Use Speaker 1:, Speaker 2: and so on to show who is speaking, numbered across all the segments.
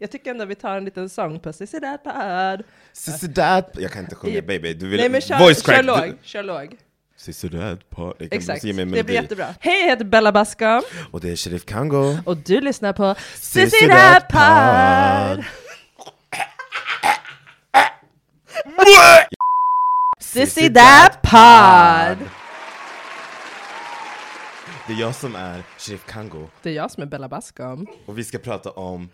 Speaker 1: Jag tycker ändå vi tar en liten sång på Sissi Dad Pad.
Speaker 2: Sissi Dad... Jag kan inte sjunga baby, du vill...
Speaker 1: Typ. Nej men kör, kör
Speaker 2: Du-
Speaker 1: låg, kör låg.
Speaker 2: Sissi Dad Pad. Jag kan
Speaker 1: Exakt,
Speaker 2: måste ge mig en
Speaker 1: det blir
Speaker 2: melodi.
Speaker 1: jättebra. Hej, jag heter Bella Baska
Speaker 2: Och det är Sheriff Kango.
Speaker 1: och du lyssnar på Sissi
Speaker 2: Sissi
Speaker 1: Dad
Speaker 2: Dad
Speaker 1: Pad.
Speaker 2: Pad.
Speaker 1: Sissi Dad Pad.
Speaker 2: Det är jag som är Sheriff Kango.
Speaker 1: Det är jag som är Bella Bascom.
Speaker 2: Och vi ska prata om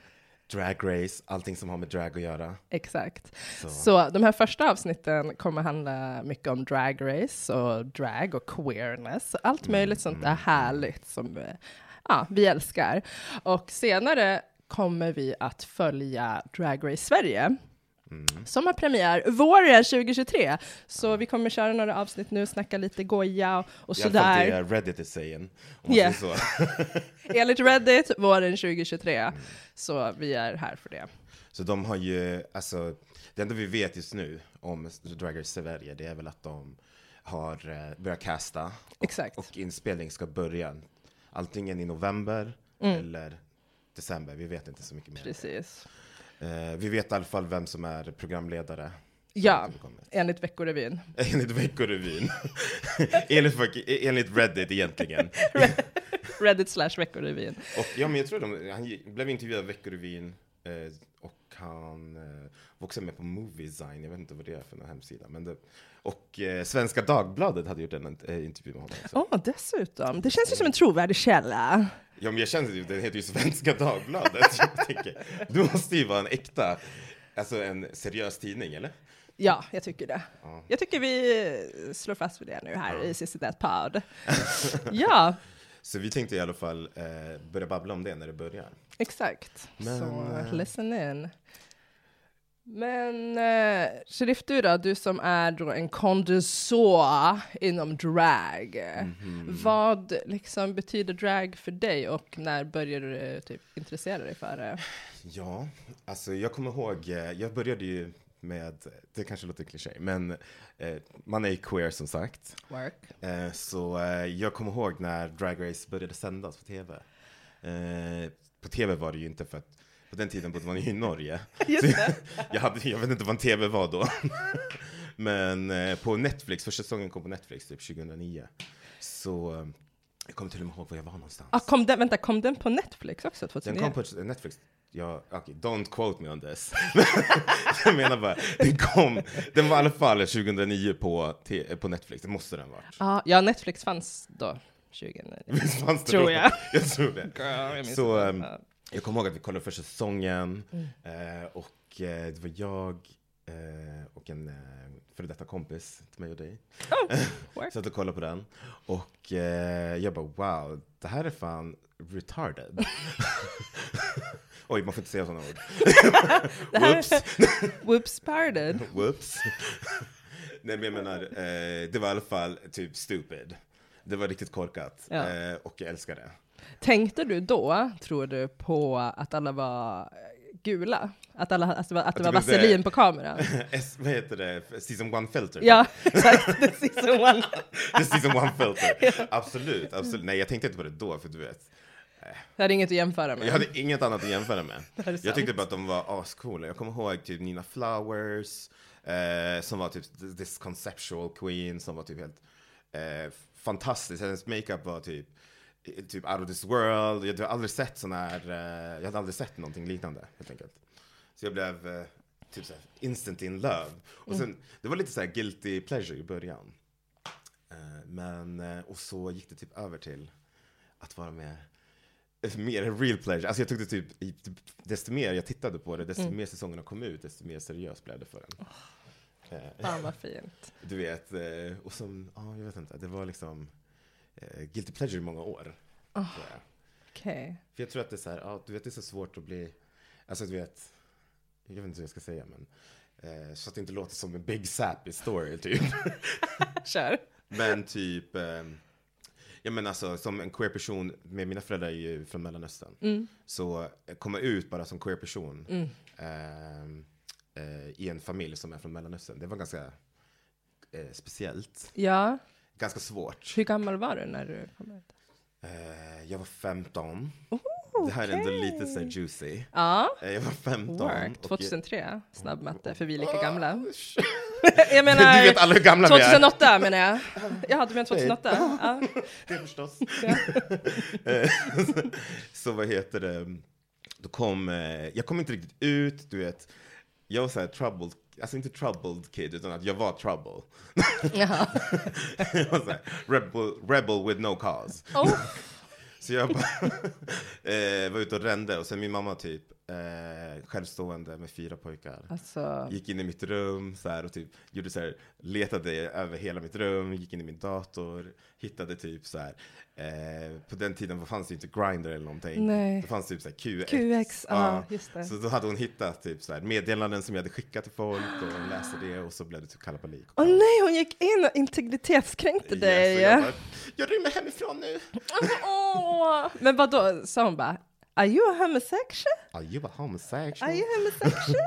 Speaker 2: drag race, allting som har med drag att göra.
Speaker 1: Exakt. Så. de här första avsnitten kommer handla mycket om drag race och drag och queerness. Allt möjligt sånt där härligt som eh, ja, vi älskar. Och senare kommer vi att följa Drag Race Sverige. Som har premiär våren 2023. Så vi kommer köra några avsnitt nu, snacka lite goja och, och
Speaker 2: I alla fall
Speaker 1: sådär.
Speaker 2: det är Reddit är saying. Om man
Speaker 1: Yeah.
Speaker 2: säger så.
Speaker 1: Enligt Reddit, våren 2023. Så vi är här för det.
Speaker 2: Så de har ju, alltså, det enda vi vet just nu om Drag Race Sverige, det är väl att de har eh, börjat casta. Och,
Speaker 1: Exakt.
Speaker 2: Och inspelning ska börja. Antingen i november eller december, vi vet inte så mycket mer.
Speaker 1: Mm. Precis.
Speaker 2: Eh, vi vet i alla fall vem som är programledare.
Speaker 1: Ja,
Speaker 2: Det kommer.
Speaker 1: enligt Veckorevyn.
Speaker 2: Enligt Veckorevyn. enligt, fuck- enligt Reddit egentligen.
Speaker 1: Reddit slash Veckorevyn.
Speaker 2: Och, ja, men jag tror de, han gi- blev intervjuad av Veckorevyn eh, och han eh, var också med på Movie Design, jag vet inte vad det är för någon hemsida. Men det, och eh, Svenska Dagbladet hade gjort en eh, intervju med honom också.
Speaker 1: Ja, oh, dessutom. Det känns ju som
Speaker 2: Mm.
Speaker 1: en trovärdig källa.
Speaker 2: Ja, men jag känner ju, den heter ju Svenska Dagbladet. jag tänker, du måste ju vara en äkta, alltså en seriös tidning, eller?
Speaker 1: Ja, jag tycker det. Jag tycker vi eh, slår fast vid det nu här i Sissy That Pod. ja,
Speaker 2: Så vi tänkte i alla fall eh, börja babbla om det när det börjar.
Speaker 1: exakt. Så,
Speaker 2: Men, eh,
Speaker 1: listen in. Men eh, Sheriff, du då? Du som är då en kondensor inom drag.
Speaker 2: Mhm.
Speaker 1: Vad liksom betyder drag för dig och när började du eh, typ, intressera dig för eh, det?
Speaker 2: Ja, alltså jag kommer ihåg, eh, jag började ju med, det kanske låter kliché, men eh, man är ju queer som sagt.
Speaker 1: Work.
Speaker 2: Eh, så eh, jag kommer ihåg när Drag Race började sändas på tv. Eh, på tv var det ju inte för att på den tiden bodde man ju i Norge.
Speaker 1: Just det.
Speaker 2: Jag, hade, jag vet inte vad en tv var då. Men eh, på Netflix, första säsongen kom på Netflix typ 2009. Så eh, jag kommer till och med ihåg var jag var någonstans.
Speaker 1: Ah, kom den, vänta, kom den på Netflix också
Speaker 2: Den
Speaker 1: 2009?
Speaker 2: kom på Netflix. Ja, okay, don't quote me on this. jag menar bara, den kom, den var i alla fall 2009 på, te- på Netflix, det måste den varit.
Speaker 1: Ah, ja, Netflix fanns då, 2009.
Speaker 2: Visst fanns det
Speaker 1: Tror
Speaker 2: då?
Speaker 1: jag.
Speaker 2: jag tror det.
Speaker 1: Girl, jag minns
Speaker 2: Så,
Speaker 1: inte.
Speaker 2: ehm, Jag kommer ihåg att vi kollade första säsongen
Speaker 1: Mm.
Speaker 2: eh, och eh, det var jag eh, och en eh, före detta kompis till mig och dig.
Speaker 1: Oh, work.
Speaker 2: Satt och kollade på den och eh, jag bara wow, det här är fan retarded. Oj, man får inte säga sådana ord.
Speaker 1: det här
Speaker 2: whoops.
Speaker 1: Whoops pardon.
Speaker 2: Whoops. Nej men jag menar, eh, det var i alla fall typ stupid. Det var riktigt korkat
Speaker 1: Ja.
Speaker 2: eh, och jag älskar det.
Speaker 1: Tänkte du då, tror du, på att alla var eh, gula? Att, alla, alltså, att det
Speaker 2: Att
Speaker 1: var
Speaker 2: det blev det-
Speaker 1: vaselin på kameran?
Speaker 2: S, vad heter det? Season one filter?
Speaker 1: ja, exakt. Det sista one.
Speaker 2: Det är season one filter. Absolut, absolut. Nej jag tänkte inte på det då för du vet.
Speaker 1: Det hade inget att jämföra med.
Speaker 2: Jag hade inget annat att jämföra med.
Speaker 1: här är sant.
Speaker 2: Jag tyckte bara att de var ascoola. Jag kommer ihåg typ Nina Flowers, eh, som var typ this conceptual queen, som var typ helt eh, fantastisk. Hennes makeup var typ, eh, typ out of this world. Jag hade aldrig sett sån här, eh, jag hade aldrig sett någonting liknande helt enkelt. Så jag blev eh, typ såhär instant in love. Och sen, det var lite såhär guilty pleasure i början. Eh, men, eh, och så gick det typ över till att vara med eh, mer en real pleasure. Alltså jag tyckte typ, i- desto mer jag tittade på det, desto mer säsongerna kom ut, desto mer seriös blev det för en. Eh,
Speaker 1: Fan vad fint.
Speaker 2: Du vet, eh, och som, ja jag vet inte, det var liksom eh, guilty pleasure i många år. tror jag.
Speaker 1: Okej.
Speaker 2: För jag tror att det är så här, ja du vet det är så svårt att bli, alltså du vet, jag vet inte hur jag ska säga men, eh, så att det inte låter som en big sappy story typ.
Speaker 1: Kör.
Speaker 2: Men typ, eh, ja men alltså som en queer person, med mina föräldrar är ju från Mellanöstern.
Speaker 1: Mm.
Speaker 2: Så eh, komma ut bara som queer person eh, eh, i en familj som är från Mellanöstern, det var ganska eh, speciellt.
Speaker 1: Ja,
Speaker 2: Ganska svårt.
Speaker 1: hur gammal var du när du kom ut?
Speaker 2: Eh, jag var 15. Det här är ändå lite så här juicy.
Speaker 1: Ja.
Speaker 2: Eh, Jag var 15.
Speaker 1: Work.
Speaker 2: och-
Speaker 1: 2003, snabbmatte, för vi är lika
Speaker 2: Ah,
Speaker 1: gamla.
Speaker 2: sh-
Speaker 1: Jag
Speaker 2: Du
Speaker 1: menar,
Speaker 2: vet alla hur gamla vi är.
Speaker 1: 2008 menar jag. Ja, du menar 2008? Ja.
Speaker 2: Det förstås.
Speaker 1: Ja.
Speaker 2: Eh, så vad heter det? Då kom, eh, jag kom inte riktigt ut, du vet. Jag var så här troubled, alltså inte troubled kid, utan att jag var trouble.
Speaker 1: Jaha.
Speaker 2: jag var så här, rebel, rebel with no cause.
Speaker 1: Oh,
Speaker 2: Så jag bara eh, var ute och rände och sen min mamma typ, eh, självstående med fyra pojkar.
Speaker 1: alltså,
Speaker 2: Gick in i mitt rum så här, och typ gjorde så här, letade över hela mitt rum, gick in i min dator, hittade typ så här. Eh, på den tiden fanns det inte Grindr eller någonting.
Speaker 1: Nej.
Speaker 2: Det fanns typ så här QX.
Speaker 1: QX, ja, just det.
Speaker 2: Ah. Så då hade hon hittat typ så här, meddelanden som jag hade skickat till folk och läste det och så blev det typ kalabalik.
Speaker 1: Åh nej, hon gick in och integritetskränkte
Speaker 2: Ja, så
Speaker 1: dig.
Speaker 2: jag, bara, jag rymmer hemifrån nu.
Speaker 1: Åh. Men vad då? sa hon bara, are you a homosexual?
Speaker 2: Are you a
Speaker 1: Are
Speaker 2: homosexual?
Speaker 1: you homosexual?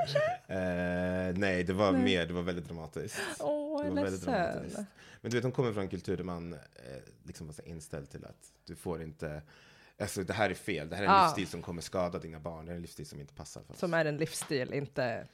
Speaker 2: Eh, nej, det var mer, det var väldigt dramatiskt.
Speaker 1: Åh,
Speaker 2: Det
Speaker 1: jag
Speaker 2: var
Speaker 1: är
Speaker 2: väldigt
Speaker 1: ledsen.
Speaker 2: dramatiskt. Men du vet, de kommer från en kultur där man eh, liksom var så inställd till att du får inte, alltså det här är fel, det här är en
Speaker 1: Ah.
Speaker 2: livsstil som kommer skada dina barn, det är en livsstil som inte passar för oss.
Speaker 1: Som är en livsstil, inte...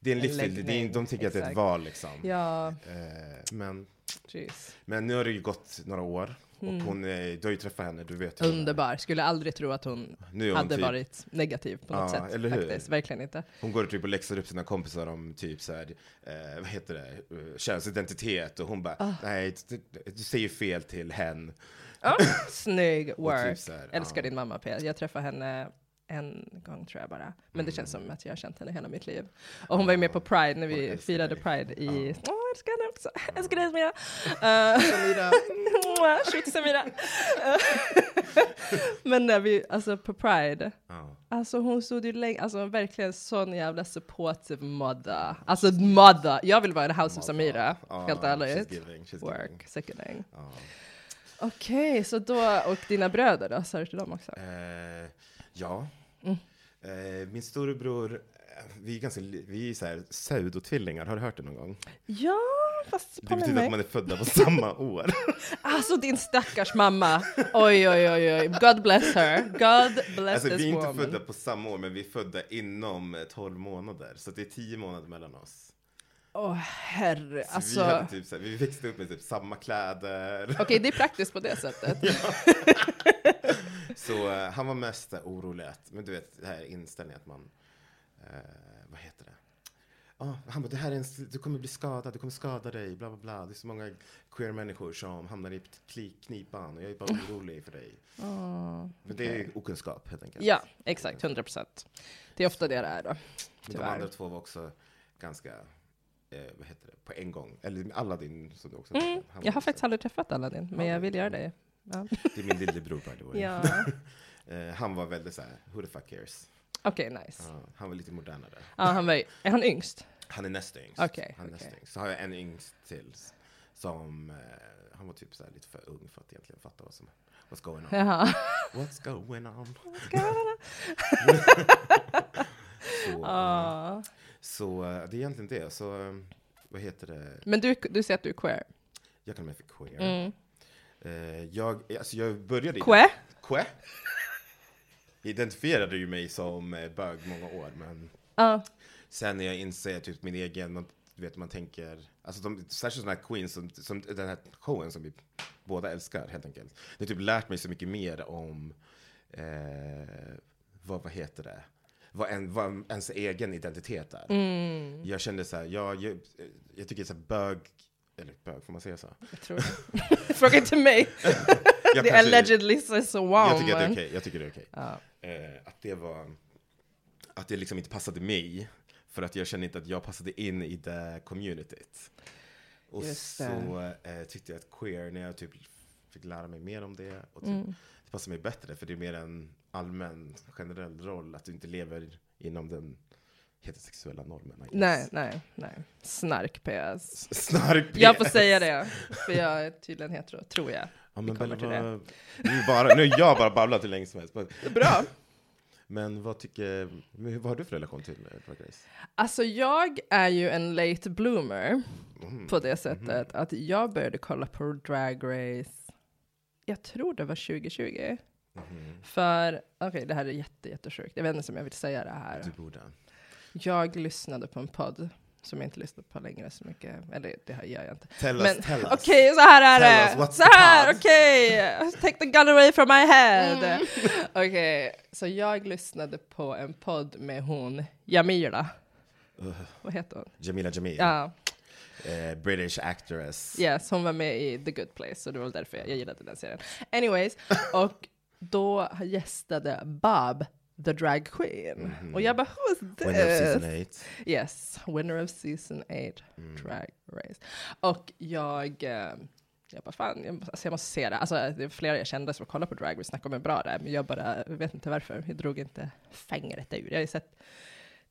Speaker 2: Det är en
Speaker 1: en
Speaker 2: livsstil, det är,
Speaker 1: läggning,
Speaker 2: de tycker att det är ett
Speaker 1: exakt.
Speaker 2: val liksom.
Speaker 1: Ja,
Speaker 2: Eh, men,
Speaker 1: jeez.
Speaker 2: men nu har det ju gått några år och
Speaker 1: Mm.
Speaker 2: hon är, du har ju träffat henne, du vet ju. hur hon är.
Speaker 1: Underbar. Skulle aldrig tro att hon
Speaker 2: Nu är hon,
Speaker 1: hade
Speaker 2: typ,
Speaker 1: varit negativ på något
Speaker 2: Ja,
Speaker 1: sätt.
Speaker 2: eller hur?
Speaker 1: faktiskt. Verkligen inte.
Speaker 2: hon går typ och läxar upp sina kompisar om typ så här, eh, vad heter det, Eh, könsidentitet och hon bara,
Speaker 1: Ah.
Speaker 2: nej, du, du säger fel till hen.
Speaker 1: Ja, snygg
Speaker 2: Och
Speaker 1: work.
Speaker 2: typ så här,
Speaker 1: Älskar
Speaker 2: ja.
Speaker 1: din mamma P. Jag träffade henne en gång tror jag bara. Men det känns
Speaker 2: Mm.
Speaker 1: som att jag har känt henne hela mitt liv. Och hon var ju med på Pride när
Speaker 2: Hon
Speaker 1: vi
Speaker 2: älskar
Speaker 1: firade
Speaker 2: dig.
Speaker 1: Pride i... Åh,
Speaker 2: Ja.
Speaker 1: jag älskar henne också. Jag älskar dig Samira. Uh,
Speaker 2: Samira.
Speaker 1: Mwah, Shoot Samira. Eh, Men när vi, alltså på Pride.
Speaker 2: Ja.
Speaker 1: Alltså hon stod ju länge, alltså verkligen sån jävla supportive mother. Alltså mother. Jag vill vara i the house of Alltså, Samira.
Speaker 2: Ja,
Speaker 1: Helt ärligt.
Speaker 2: She's giving, she's giving.
Speaker 1: Work, sickening.
Speaker 2: Ja.
Speaker 1: Okej, så då, och dina bröder då, sa du till dem också?
Speaker 2: Eh, ja.
Speaker 1: Mm.
Speaker 2: Eh, min storebror, eh, vi är ganska, li- vi är så här pseudotvillingar, har du hört det någon gång?
Speaker 1: Ja, fast
Speaker 2: Det
Speaker 1: påminn
Speaker 2: betyder
Speaker 1: mig.
Speaker 2: att man är födda på samma år.
Speaker 1: Alltså din stackars mamma. Oj, oj, oj, oj. God bless her. God bless
Speaker 2: Alltså
Speaker 1: this
Speaker 2: vi är inte
Speaker 1: woman.
Speaker 2: födda på samma år, men vi är födda inom eh, 12 månader. Så det är 10 månader mellan oss.
Speaker 1: Åh herre,
Speaker 2: Så
Speaker 1: alltså.
Speaker 2: vi,
Speaker 1: Okej,
Speaker 2: hade typ så här, vi växte upp med typ samma kläder.
Speaker 1: det är praktiskt på det sättet.
Speaker 2: Så eh, han var mest eh, orolig att, men du vet, det här inställningen att man, eh, vad heter det? Ja, han bara, det här är en, s- du kommer bli skadad, du kommer skada dig, bla bla bla. Det är så många queer människor som hamnar i kli- knipan och jag är bara
Speaker 1: Mm.
Speaker 2: orolig för dig.
Speaker 1: Åh,
Speaker 2: Men det är okunskap helt enkelt.
Speaker 1: Ja, exakt, 100 procent. Det är ofta det det är då.
Speaker 2: Men de
Speaker 1: tyvärr.
Speaker 2: andra två var också ganska, eh, vad heter det, på en gång. Eller Aladdin som du också
Speaker 1: Mm,
Speaker 2: han var
Speaker 1: jag har
Speaker 2: också-
Speaker 1: faktiskt aldrig träffat Aladdin, men jag vill göra det. Ja.
Speaker 2: Det är min lillebror by the way.
Speaker 1: ja.
Speaker 2: Eh, han var väldigt så här, who the fuck cares?
Speaker 1: Okej, nice.
Speaker 2: Ja, han var lite modernare.
Speaker 1: Ja, han var, ju- är han yngst?
Speaker 2: Han är näst yngst.
Speaker 1: Okej,
Speaker 2: han är näst
Speaker 1: okej.
Speaker 2: yngst. Så har jag en yngst till s- som, eh, han var typ så här lite för ung för att egentligen fatta vad som, what's going on.
Speaker 1: Jaha.
Speaker 2: What's going on?
Speaker 1: Ska jag vara-
Speaker 2: Så, eh,
Speaker 1: Ja.
Speaker 2: så eh, det är egentligen det. Så eh, vad heter det?
Speaker 1: Men du, du säger att du är queer?
Speaker 2: Jag kallar mig för queer.
Speaker 1: Mm.
Speaker 2: Eh, jag, eh, alltså jag började...
Speaker 1: Queer?
Speaker 2: Que? Identifierade ju mig som eh, bög många år, men
Speaker 1: Ja.
Speaker 2: Sen när jag inser typ min egen, man, du vet man tänker, alltså de, särskilt sådana här queens, som, som den här showen som vi båda älskar helt enkelt. Det har typ lärt mig så mycket mer om, eh, vad, vad heter det, vad, en, vad ens egen identitet är.
Speaker 1: Mm.
Speaker 2: Jag kände så här, jag, jag, jag tycker så här bög, eller bög, får man säga så?
Speaker 1: Jag tror det. Fråga inte mig.
Speaker 2: Jag,
Speaker 1: Det är
Speaker 2: kanske-
Speaker 1: allegedly så så wow.
Speaker 2: jag tycker att det är
Speaker 1: men-
Speaker 2: okej, jag tycker det är okej.
Speaker 1: Ja.
Speaker 2: eh, att det var att det liksom inte passade mig för att jag kände inte att jag passade in i det communityt. Och
Speaker 1: Just det.
Speaker 2: så eh, tyckte jag att queer, när jag typ fick lära mig mer om det, och typ,
Speaker 1: Mm.
Speaker 2: det passade mig bättre för det är mer en allmän generell roll att du inte lever inom den heterosexuella normen. I guess.
Speaker 1: Nej, nej, nej. Snark PS.
Speaker 2: Snark
Speaker 1: Jag får
Speaker 2: PS.
Speaker 1: säga det, för jag är tydligen hetero, tror jag.
Speaker 2: Ja,
Speaker 1: Vi
Speaker 2: men
Speaker 1: kommer
Speaker 2: Bella,
Speaker 1: till
Speaker 2: vad, nu, är bara, nu har jag bara babblat hur länge som helst.
Speaker 1: Bra.
Speaker 2: Men vad tycker, men vad har du för relation till eh, Drag Race?
Speaker 1: Alltså jag är ju en late bloomer
Speaker 2: Mm.
Speaker 1: på det sättet att jag började kolla på Drag Race, jag tror det var 2020.
Speaker 2: Mm-hmm.
Speaker 1: För, okej, det här är jätte, jättesjukt. Jag vet inte om jag vill säga det här.
Speaker 2: Du borde.
Speaker 1: Jag lyssnade på en podd som jag inte lyssnar på längre så mycket. Eller det här gör jag inte.
Speaker 2: Tell
Speaker 1: Men
Speaker 2: us, tell us.
Speaker 1: Okej, så här
Speaker 2: Tell
Speaker 1: är
Speaker 2: us,
Speaker 1: det.
Speaker 2: what's
Speaker 1: Så
Speaker 2: the
Speaker 1: här,
Speaker 2: pod?
Speaker 1: okej. Take the gun away from my head. Okej, så jag lyssnade på en podd med hon Jamila. Vad heter hon?
Speaker 2: Jamila Jamil,
Speaker 1: Ja,
Speaker 2: eh, British actress.
Speaker 1: yes, hon var med i The Good Place och det var väl därför jag, jag gillade den serien. Anyways, och då gästade Bob the drag queen.
Speaker 2: Mhm.
Speaker 1: Och jag bara, who's this?
Speaker 2: Winner of season 8.
Speaker 1: Yes, winner of season 8,
Speaker 2: Mm.
Speaker 1: Drag Race. Och jag, eh, jag bara fan, jag, måste- alltså jag måste se det. Alltså, det är flera jag kände som kollar på Drag Race, snackade om hur bra det är, men jag bara, jag vet inte varför, jag drog inte fingret ur. Jag har ju sett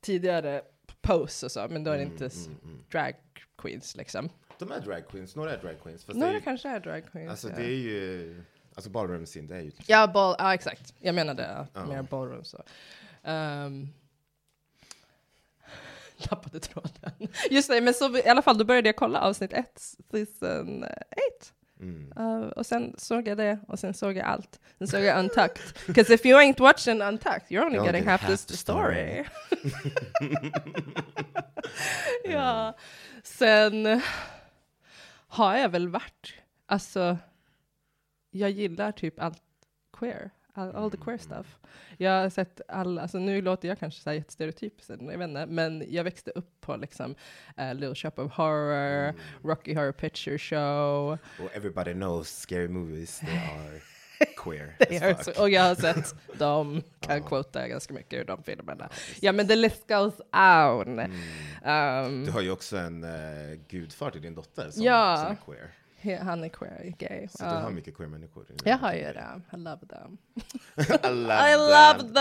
Speaker 1: tidigare pose och så, men då
Speaker 2: Mm,
Speaker 1: är det inte s- drag queens liksom.
Speaker 2: De är drag queens, några är drag queens. Fast det
Speaker 1: Några
Speaker 2: är,
Speaker 1: kanske är drag queens.
Speaker 2: alltså
Speaker 1: ja.
Speaker 2: det är ju, alltså ballroom scene, det är ju
Speaker 1: Ja, ball, ja exakt. Jag menade ja, mer ballroom så. Ehm, tappade tråden. Just det, men så, i alla fall då började jag kolla avsnitt 1, season 8.
Speaker 2: mm.
Speaker 1: Eh, och sen såg jag det, och sen såg jag allt. Sen såg jag Untucked. Because if you ain't watching Untucked, you're only
Speaker 2: You're
Speaker 1: getting
Speaker 2: only
Speaker 1: half
Speaker 2: half
Speaker 1: this
Speaker 2: the
Speaker 1: story.
Speaker 2: story.
Speaker 1: ja, sen har jag väl varit, alltså, jag gillar typ allt queer. All, all the
Speaker 2: Mm.
Speaker 1: queer stuff. Jag har sett alla, alltså nu låter jag kanske så här jättestereotyp, så jag vet inte, men jag växte upp på liksom eh, Little Shop of Horror,
Speaker 2: Mm.
Speaker 1: Rocky Horror Picture Show,
Speaker 2: Och everybody knows scary movies, they are queer
Speaker 1: Det
Speaker 2: as
Speaker 1: är
Speaker 2: fuck.
Speaker 1: så- och jag har sett dem, kan quota ganska mycket ur de filmerna. Ja men the list goes on. Um,
Speaker 2: Mm. Du har ju också en eh, gudfar till din dotter som,
Speaker 1: Ja.
Speaker 2: som är queer.
Speaker 1: he- han är queer, gay.
Speaker 2: Så du har mycket queer människor. i din
Speaker 1: Jag har
Speaker 2: familj.
Speaker 1: ju det, I love them.
Speaker 2: I love,
Speaker 1: I love
Speaker 2: them.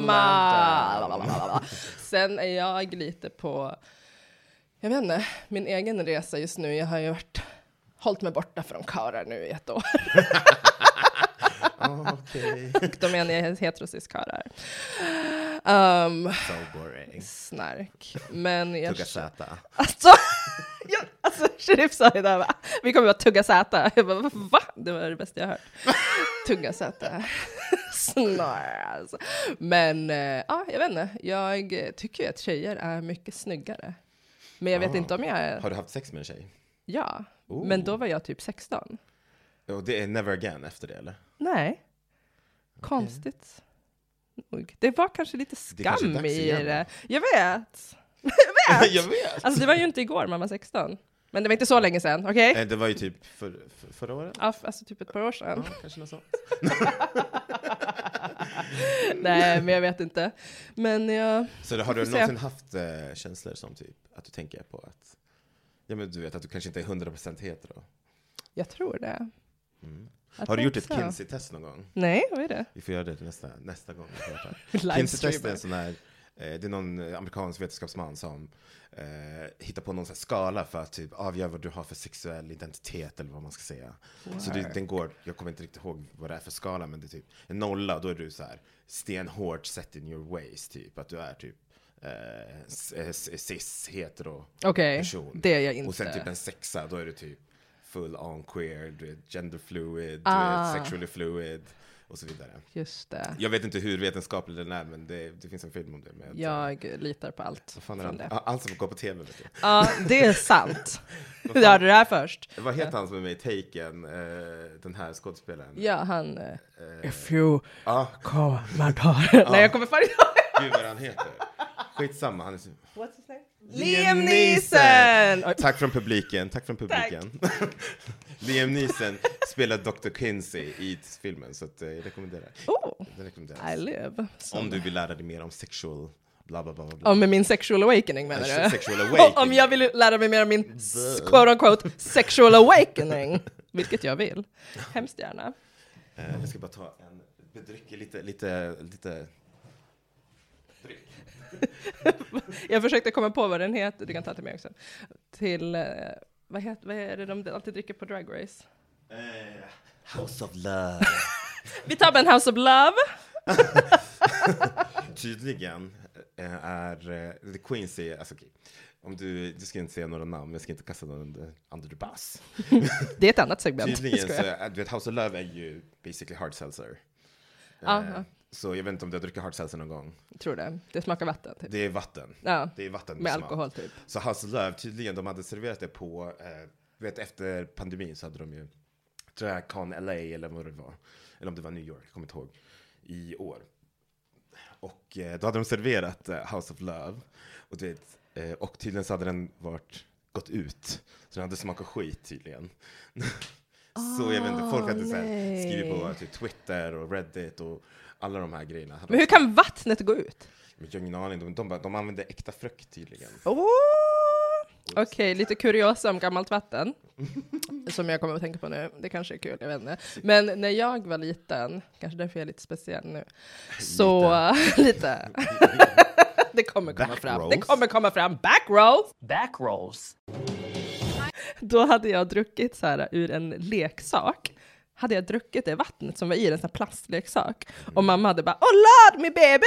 Speaker 1: them!
Speaker 2: love
Speaker 1: Sen är jag lite på, jag vet inte, min egen resa just nu. Jag har ju varit, hållit mig borta från karlar nu i ett år.
Speaker 2: Ah, Okej,
Speaker 1: Och då menar jag heterosiskarlar. Um,
Speaker 2: so boring.
Speaker 1: snark. Men jag...
Speaker 2: Tugga Z.
Speaker 1: Alltså, ja, alltså Sheriff sa idag va? Vi kommer bara tugga säta. Jag bara, va? Det var det bästa jag hört. Tugga säta. Snarare alltså. Men eh, ja, jag vet inte. Jag tycker ju att tjejer är mycket snyggare. Men jag vet
Speaker 2: Ah.
Speaker 1: inte om jag är...
Speaker 2: Har du haft sex med en tjej?
Speaker 1: Ja.
Speaker 2: Oh.
Speaker 1: Men då var jag typ 16.
Speaker 2: Och det är never again efter det eller?
Speaker 1: Nej. Konstigt. nog. Det var kanske lite
Speaker 2: Det kanske är
Speaker 1: skam
Speaker 2: dags
Speaker 1: i
Speaker 2: igen,
Speaker 1: det. Jag vet.
Speaker 2: jag vet!
Speaker 1: Alltså det var ju inte igår man var 16. Men det var inte så länge sedan, okej?
Speaker 2: Eh, Det var ju typ för, för, förra året?
Speaker 1: Ja, f- alltså typ ett par år sedan.
Speaker 2: Ja, kanske något sånt.
Speaker 1: Nej, men jag vet inte. Men jag...
Speaker 2: Så då, har du
Speaker 1: Får se.
Speaker 2: någonsin haft eh, känslor som typ att du tänker på att ja, men du vet att du kanske inte är 100% hetero? Mm.
Speaker 1: Jag tror det. Jag
Speaker 2: Har du
Speaker 1: tror
Speaker 2: gjort ett
Speaker 1: så.
Speaker 2: Kinsey-test någon gång?
Speaker 1: Nej, vad är det?
Speaker 2: Vi får göra det till nästa, nästa gång. vi pratar. Kinsey-test är
Speaker 1: Livestreamer.
Speaker 2: en sån här, eh, det är någon eh, amerikansk vetenskapsman som eh, hittar på någon sån här skala för att typ avgöra vad du har för sexuell identitet eller vad man ska säga. Så det, den går, jag kommer inte riktigt ihåg vad det är för skala, men det är typ en nolla, då är du så här stenhårt set in your ways, typ att du är typ eh, s- eh, s- cis, hetero
Speaker 1: Okej,
Speaker 2: person.
Speaker 1: det är jag inte.
Speaker 2: Och sen typ en sexa, då är du typ full on queer, du är gender fluid,
Speaker 1: Ah.
Speaker 2: du är sexually fluid och så vidare.
Speaker 1: Just det.
Speaker 2: Jag vet inte hur vetenskaplig den är, men det, det finns en film om det. Med,
Speaker 1: Jag litar på allt
Speaker 2: Vad fan är
Speaker 1: från
Speaker 2: han?
Speaker 1: det.
Speaker 2: Ah, Han som går på tv, vet du.
Speaker 1: Ja, det är sant. Vi hörde det här först.
Speaker 2: Vad heter han som är med i Taken, eh, den här skådespelaren?
Speaker 1: Ja, han... eh, If you
Speaker 2: Ah,
Speaker 1: come, my daughter. Nej, jag kommer fan inte ihåg.
Speaker 2: gud vad han heter. Skitsamma, han är så...
Speaker 1: What's his name?
Speaker 2: Liam
Speaker 1: Liam Neeson! Oj,
Speaker 2: Tack från publiken, tack från publiken. Liam Neeson spelar Dr. Kinsey i filmen, så att, eh, jag rekommenderar.
Speaker 1: Oh,
Speaker 2: Den rekommenderas.
Speaker 1: I live. Så-
Speaker 2: Om du vill lära dig mer om sexual bla bla bla bla. bla.
Speaker 1: Om min sexual awakening menar
Speaker 2: Eh,
Speaker 1: du?
Speaker 2: sexual awakening.
Speaker 1: Om jag vill lära mig mer om min s- quote unquote sexual awakening. Vilket jag vill. Hemskt gärna.
Speaker 2: Eh, jag ska bara ta en bedryck, lite, lite, lite.
Speaker 1: Jag försökte komma på vad den heter, du kan ta till mig också. Till, eh, vad, heter, vad är det de alltid dricker på Drag Race?
Speaker 2: Eh, House of Love.
Speaker 1: Vi tar Ben House of Love.
Speaker 2: Tydligen eh, är eh, The Queen säger, alltså okej, om du, du ska inte säga några namn, jag ska inte kasta någon under, under the bus.
Speaker 1: Det är ett annat segment.
Speaker 2: Tydligen så, eh,
Speaker 1: Skojar.
Speaker 2: är- du vet House of Love är ju basically hard seltzer. Eh,
Speaker 1: Aha.
Speaker 2: Så jag vet inte om du har druckit hard seltzer någon gång.
Speaker 1: Tror det. Det smakar vatten typ.
Speaker 2: Det är vatten.
Speaker 1: Ja,
Speaker 2: Det är vatten
Speaker 1: med
Speaker 2: smak.
Speaker 1: alkohol typ.
Speaker 2: Så Hans Löv, tydligen, de hade serverat det på, eh, vet efter pandemin så hade de ju, tror jag Con LA eller vad det var, eller om det var New York, jag kommer inte ihåg, i år. Och eh, då hade de serverat eh, House of Love, och, du vet, eh, och tydligen så hade den varit, gått ut, så den hade smakat skit tydligen. så jag vet inte, folk hade
Speaker 1: Ah,
Speaker 2: så här,
Speaker 1: nej.
Speaker 2: skrivit på typ, Twitter och Reddit och alla de här grejerna. Hade
Speaker 1: Men hur
Speaker 2: de-
Speaker 1: kan vattnet gå ut?
Speaker 2: Men jag har ingen aning, de, de, bara- de använde äkta frukt tydligen.
Speaker 1: Åh! Okej, lite kuriosa om gammalt vatten. Som jag kommer att tänka på nu. Det kanske är kul, jag vet inte. Men när jag var liten, kanske därför jag är lite speciell nu. Så, lite. det kommer komma
Speaker 2: Back
Speaker 1: fram.
Speaker 2: rolls.
Speaker 1: Det kommer komma fram. Back rolls!
Speaker 3: back rolls.
Speaker 1: Då hade jag druckit så här ur en leksak. Hade jag druckit det vattnet som var i den, en sån här plastleksak. Och mamma hade bara “Åh, lad me baby!”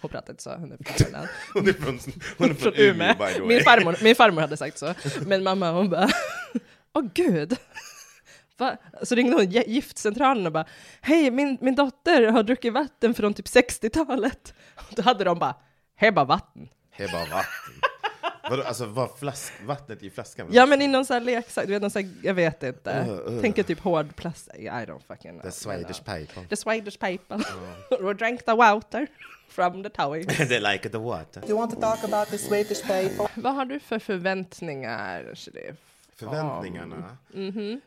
Speaker 1: Hon pratade inte så, hon är från Finland.
Speaker 2: Hon är från, hon är
Speaker 1: från
Speaker 2: från Umeå
Speaker 1: Umeå.
Speaker 2: by the way.
Speaker 1: Min farmor, min farmor hade sagt så. Men mamma hon bara, åh gud. Va? Så ringde hon gi- giftcentralen och bara, hej min, min dotter har druckit vatten från typ 60-talet. Och Då hade de bara, hej bara vatten.
Speaker 2: Det är bara vatten. Vadå, alltså var flask, vattnet i flaskan?
Speaker 1: Ja men i någon sån här leksak, du vet någon sån här, jag vet inte.
Speaker 2: Uh, uh.
Speaker 1: Tänker typ hård plast, I don't fucking know.
Speaker 2: The Swedish pipe.
Speaker 1: The Swedish paper. We drank the water from the tower.
Speaker 2: They like the water.
Speaker 3: You want to talk about the Swedish paper?
Speaker 1: Vad har du för förväntningar, Sheriff?
Speaker 2: Förväntningarna.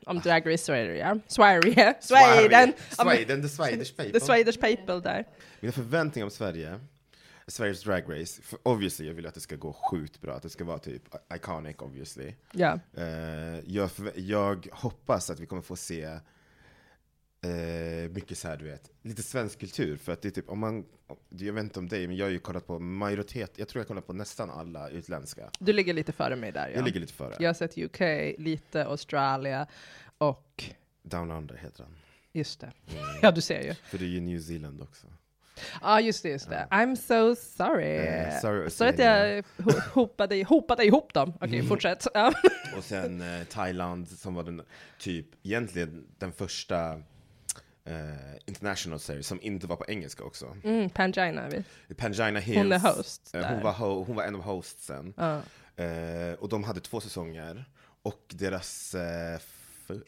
Speaker 1: om Drag Race Sverige. Sverige.
Speaker 2: Sweden.
Speaker 1: Sweden. Om
Speaker 2: Sweden, the Swedish people.
Speaker 1: The Swedish people där.
Speaker 2: Mina förväntningar om Sverige, Sveriges Drag Race, för obviously jag vill att det ska gå sjukt bra, att det ska vara typ iconic obviously.
Speaker 1: Ja.
Speaker 2: Eh, jag, förvä- jag hoppas att vi kommer få se eh, mycket så här, du vet, lite svensk kultur. För att det är typ, om man, jag vet inte om dig, men jag har ju kollat på majoritet, jag tror jag har kollat på nästan alla utländska.
Speaker 1: Du ligger lite före mig där. Ja.
Speaker 2: Jag ligger lite före.
Speaker 1: Jag har sett UK, lite Australien och
Speaker 2: Down Under heter den.
Speaker 1: just det. Ja, du ser ju. Ja,
Speaker 2: För det är ju New Zealand också.
Speaker 1: ah, just det, just det. I'm so sorry.
Speaker 2: Eh, sorry, Mm.
Speaker 1: sorry att jag ho- hopade, hopade ihop dem. Okej, fortsätt. Ja.
Speaker 2: Och sen eh, Thailand som var den, typ, egentligen den första eh, international series som inte var på engelska också.
Speaker 1: Mm, Pangina är vi.
Speaker 2: Pangina Hills.
Speaker 1: Hon är host
Speaker 2: Eh, Hon
Speaker 1: där.
Speaker 2: var, ho- hon var en av hostsen. Eh, och de hade två säsonger. Och deras eh, f-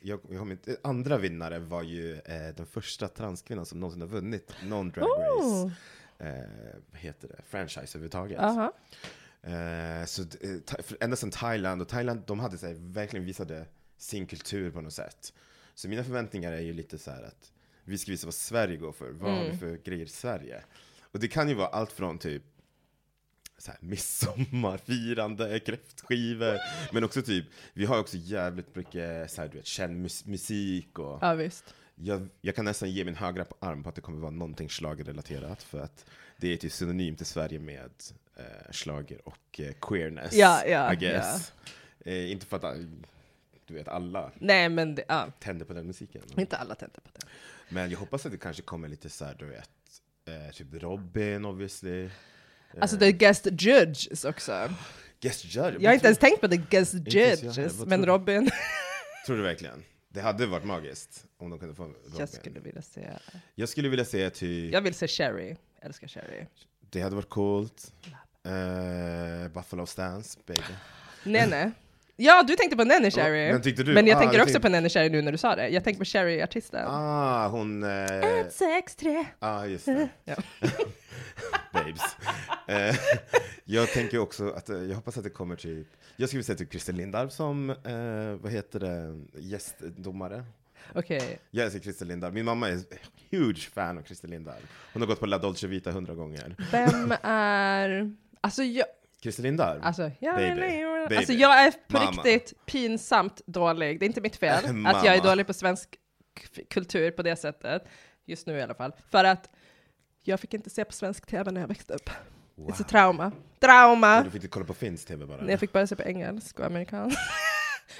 Speaker 2: jag, jag kommer inte, andra vinnare var ju eh, den första transkvinnan som någonsin har vunnit någon Drag Race.
Speaker 1: Oh.
Speaker 2: Eh, vad heter det? Franchise överhuvudtaget.
Speaker 1: Aha.
Speaker 2: Eh, så d- eh, Tha- för- ända sedan Thailand, och Thailand de hade så här, verkligen visade sin kultur på något sätt. Så mina förväntningar är ju lite så här att vi ska visa vad Sverige går för. Vad har vi för grejer i Sverige? Och det kan ju vara allt från typ så här, midsommarfirande, kräftskivor, men också typ, vi har också jävligt mycket så här, du vet, känd mus- musik och
Speaker 1: Ja, visst.
Speaker 2: jag, jag kan nästan ge min högra på arm på att det kommer vara någonting schlagerrelaterat för att det är typ synonymt i Sverige med eh, schlager och eh, queerness.
Speaker 1: Ja, ja,
Speaker 2: I guess. Eh, inte för att eh, du vet, alla
Speaker 1: Nej, men det, ja.
Speaker 2: tänder på den musiken.
Speaker 1: inte alla tänkte på det.
Speaker 2: Men jag hoppas att det kanske kommer lite så här, du vet, eh, typ Robin obviously.
Speaker 1: Alltså, the guest judges också.
Speaker 2: Guest judge.
Speaker 1: Jag har inte
Speaker 2: tror,
Speaker 1: ens tänkt på the guest
Speaker 2: Inte ens jag heller.
Speaker 1: judges,
Speaker 2: Vad
Speaker 1: men
Speaker 2: tror
Speaker 1: Robin,
Speaker 2: tror du verkligen? Det hade varit magiskt om de kunde få Robin.
Speaker 1: jag skulle vilja se.
Speaker 2: jag skulle vilja se typ
Speaker 1: Jag vill se Sherry, jag älskar Sherry.
Speaker 2: Det hade varit coolt. Eh, Buffalo Stance, baby.
Speaker 1: Nene. Ja, du tänkte på Nene Sherry.
Speaker 2: men tyckte du-
Speaker 1: Men jag
Speaker 2: ah,
Speaker 1: tänker
Speaker 2: jag
Speaker 1: också
Speaker 2: tänkte-
Speaker 1: på Nene Sherry nu när du sa det. Jag tänker på Sherry-artisten.
Speaker 2: Ah, hon... Eh,
Speaker 1: sex, tre.
Speaker 2: ah, just det.
Speaker 1: Ja.
Speaker 2: Babes. Eh, jag tänker också att, eh, jag hoppas att det kommer typ, jag skulle säga typ Christer Lindarw som, eh, vad heter det, gästdomare.
Speaker 1: Okej.
Speaker 2: Jag älskar Christer Lindarw, min mamma är huge fan av Christer Lindarw. Hon har gått på La Dolce Vita hundra gånger.
Speaker 1: Vem är... Alltså jag...
Speaker 2: Christer Lindarw?
Speaker 1: Alltså, jag,
Speaker 2: Baby. Baby.
Speaker 1: alltså, jag är på
Speaker 2: Mamma.
Speaker 1: riktigt pinsamt dålig. Det är inte mitt fel att jag
Speaker 2: Mamma.
Speaker 1: är dålig på svensk k- kultur på det sättet. Just nu i alla fall. För att jag fick inte se på svensk tv när jag växte upp.
Speaker 2: Wow.
Speaker 1: It's a trauma. Trauma!
Speaker 2: Du fick inte kolla på finsk tv bara?
Speaker 1: Nej, jag fick bara se på engelsk och amerikansk.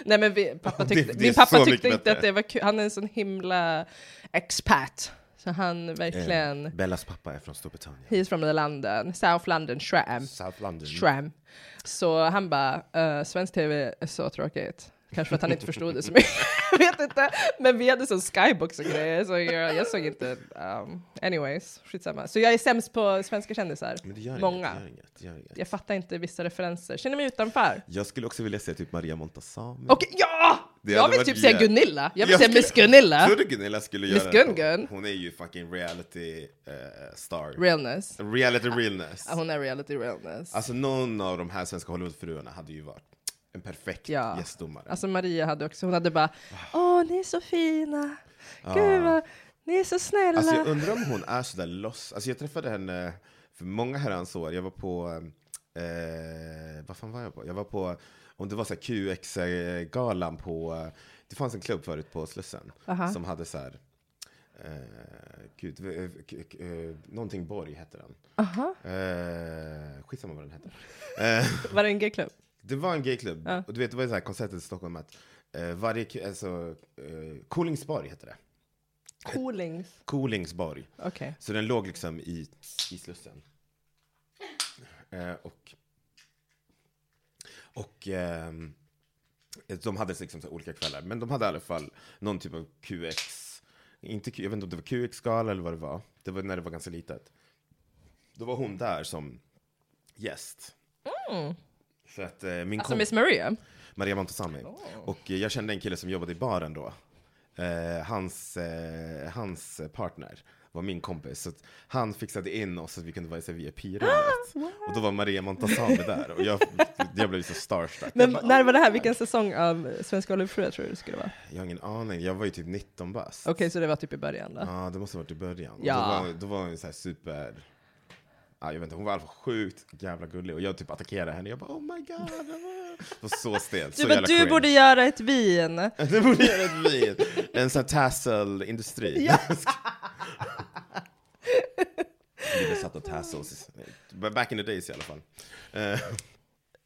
Speaker 1: Nej men vi, pappa
Speaker 2: Det-
Speaker 1: tyckte,
Speaker 2: det är
Speaker 1: min
Speaker 2: så
Speaker 1: pappa
Speaker 2: mycket
Speaker 1: tyckte inte
Speaker 2: bättre.
Speaker 1: att det var kul. Han är en sån himla expat. Så han verkligen,
Speaker 2: Eh, Bellas pappa är från Storbritannien.
Speaker 1: he's from the London, South London, Shram.
Speaker 2: South London.
Speaker 1: Shram. Så han bara, eh, svensk tv är så tråkigt. Kanske för att han inte förstod det så mycket. jag vet inte. Men vi hade sån skybox och grejer, så jag, jag såg inte. Um, anyways, skitsamma. Så jag är sämst på svenska kändisar.
Speaker 2: Men det gör
Speaker 1: Många.
Speaker 2: inget. det Gör inget, det gör inget.
Speaker 1: Jag fattar inte vissa referenser. Känner mig utanför.
Speaker 2: Jag skulle också vilja se typ Maria Montazami.
Speaker 1: Och ja!
Speaker 2: Det
Speaker 1: jag
Speaker 2: hade
Speaker 1: vill
Speaker 2: varit
Speaker 1: typ säga
Speaker 2: jä-
Speaker 1: Gunilla. Jag vill
Speaker 2: Jag
Speaker 1: säga
Speaker 2: skulle-
Speaker 1: Miss Gunilla.
Speaker 2: Tror du Gunilla skulle göra
Speaker 1: Äh? Miss Gun-Gun.
Speaker 2: det? Hon är ju fucking reality eh, star.
Speaker 1: Realness.
Speaker 2: reality realness.
Speaker 1: Ja, Hon är reality realness.
Speaker 2: Alltså någon av de här svenska Hollywoodfruarna hade ju varit en perfekt
Speaker 1: Ja.
Speaker 2: gästdomare.
Speaker 1: Alltså Maria hade också, hon hade bara Åh, ni är så fina! Gud vad, ni är så snälla!
Speaker 2: Ah. Alltså jag undrar om hon är sådär loss. Alltså jag träffade henne för många herrans år. Jag var på, eh, vad fan var jag på? Jag var på, om det var så här QX-galan på, eh, det fanns en klubb förut på Slussen
Speaker 1: Aha.
Speaker 2: som hade så här, eh, gud, eh, k- k- eh, någonting Borg hette den.
Speaker 1: Aha.
Speaker 2: Eh, skitsamma vad den hette.
Speaker 1: Var det en gayklubb?
Speaker 2: Det var en gayklubb. Och du vet, det var ju så här konceptet i Stockholm att eh, varje, k- alltså, eh, Kolingsborg hette det.
Speaker 1: Coolings.
Speaker 2: Kolingsborg.
Speaker 1: Okej.
Speaker 2: Så den låg liksom i, i Slussen. Eh, och och ehm, de hade liksom så här olika kvällar, men de hade i alla fall någon typ av QX. Inte, Q- jag vet inte om det var QX-gala eller vad det var. Det var när det var ganska litet. Då var hon där som gäst. Så att, eh, min
Speaker 1: Alltså
Speaker 2: kom-
Speaker 1: Miss Maria?
Speaker 2: Maria Montazami. Och eh, jag kände en kille som jobbade i baren då. Eh, hans, eh, hans partner var min kompis. Så att han fixade in oss så att vi kunde vara i så här
Speaker 1: Ah,
Speaker 2: VIP-rummet. och då var Maria Montazami där. Och jag, jag blev så starstruck.
Speaker 1: Men
Speaker 2: jag, bara,
Speaker 1: när var det här? Vilken säsong av Svenska Hollywoodfruar tror du det skulle vara?
Speaker 2: jag har ingen aning, jag var ju typ 19 bast.
Speaker 1: Okej, så det var typ i början då?
Speaker 2: Ja, det måste ha varit i början. Och
Speaker 1: Ja.
Speaker 2: Då, var, då var hon så här super... Ja, jag vet inte, hon var i alla fall sjukt jävla gullig. Och jag typ attackerade henne. Jag bara oh my god. Det var så stelt.
Speaker 1: Du,
Speaker 2: så
Speaker 1: bara,
Speaker 2: jävla
Speaker 1: du
Speaker 2: cringe.
Speaker 1: borde göra ett vin!
Speaker 2: Det borde göra ett vin. En sån här tassel-industri.
Speaker 1: Ja.
Speaker 2: Vi besatt av tassels. Back in the days i alla fall. Eh,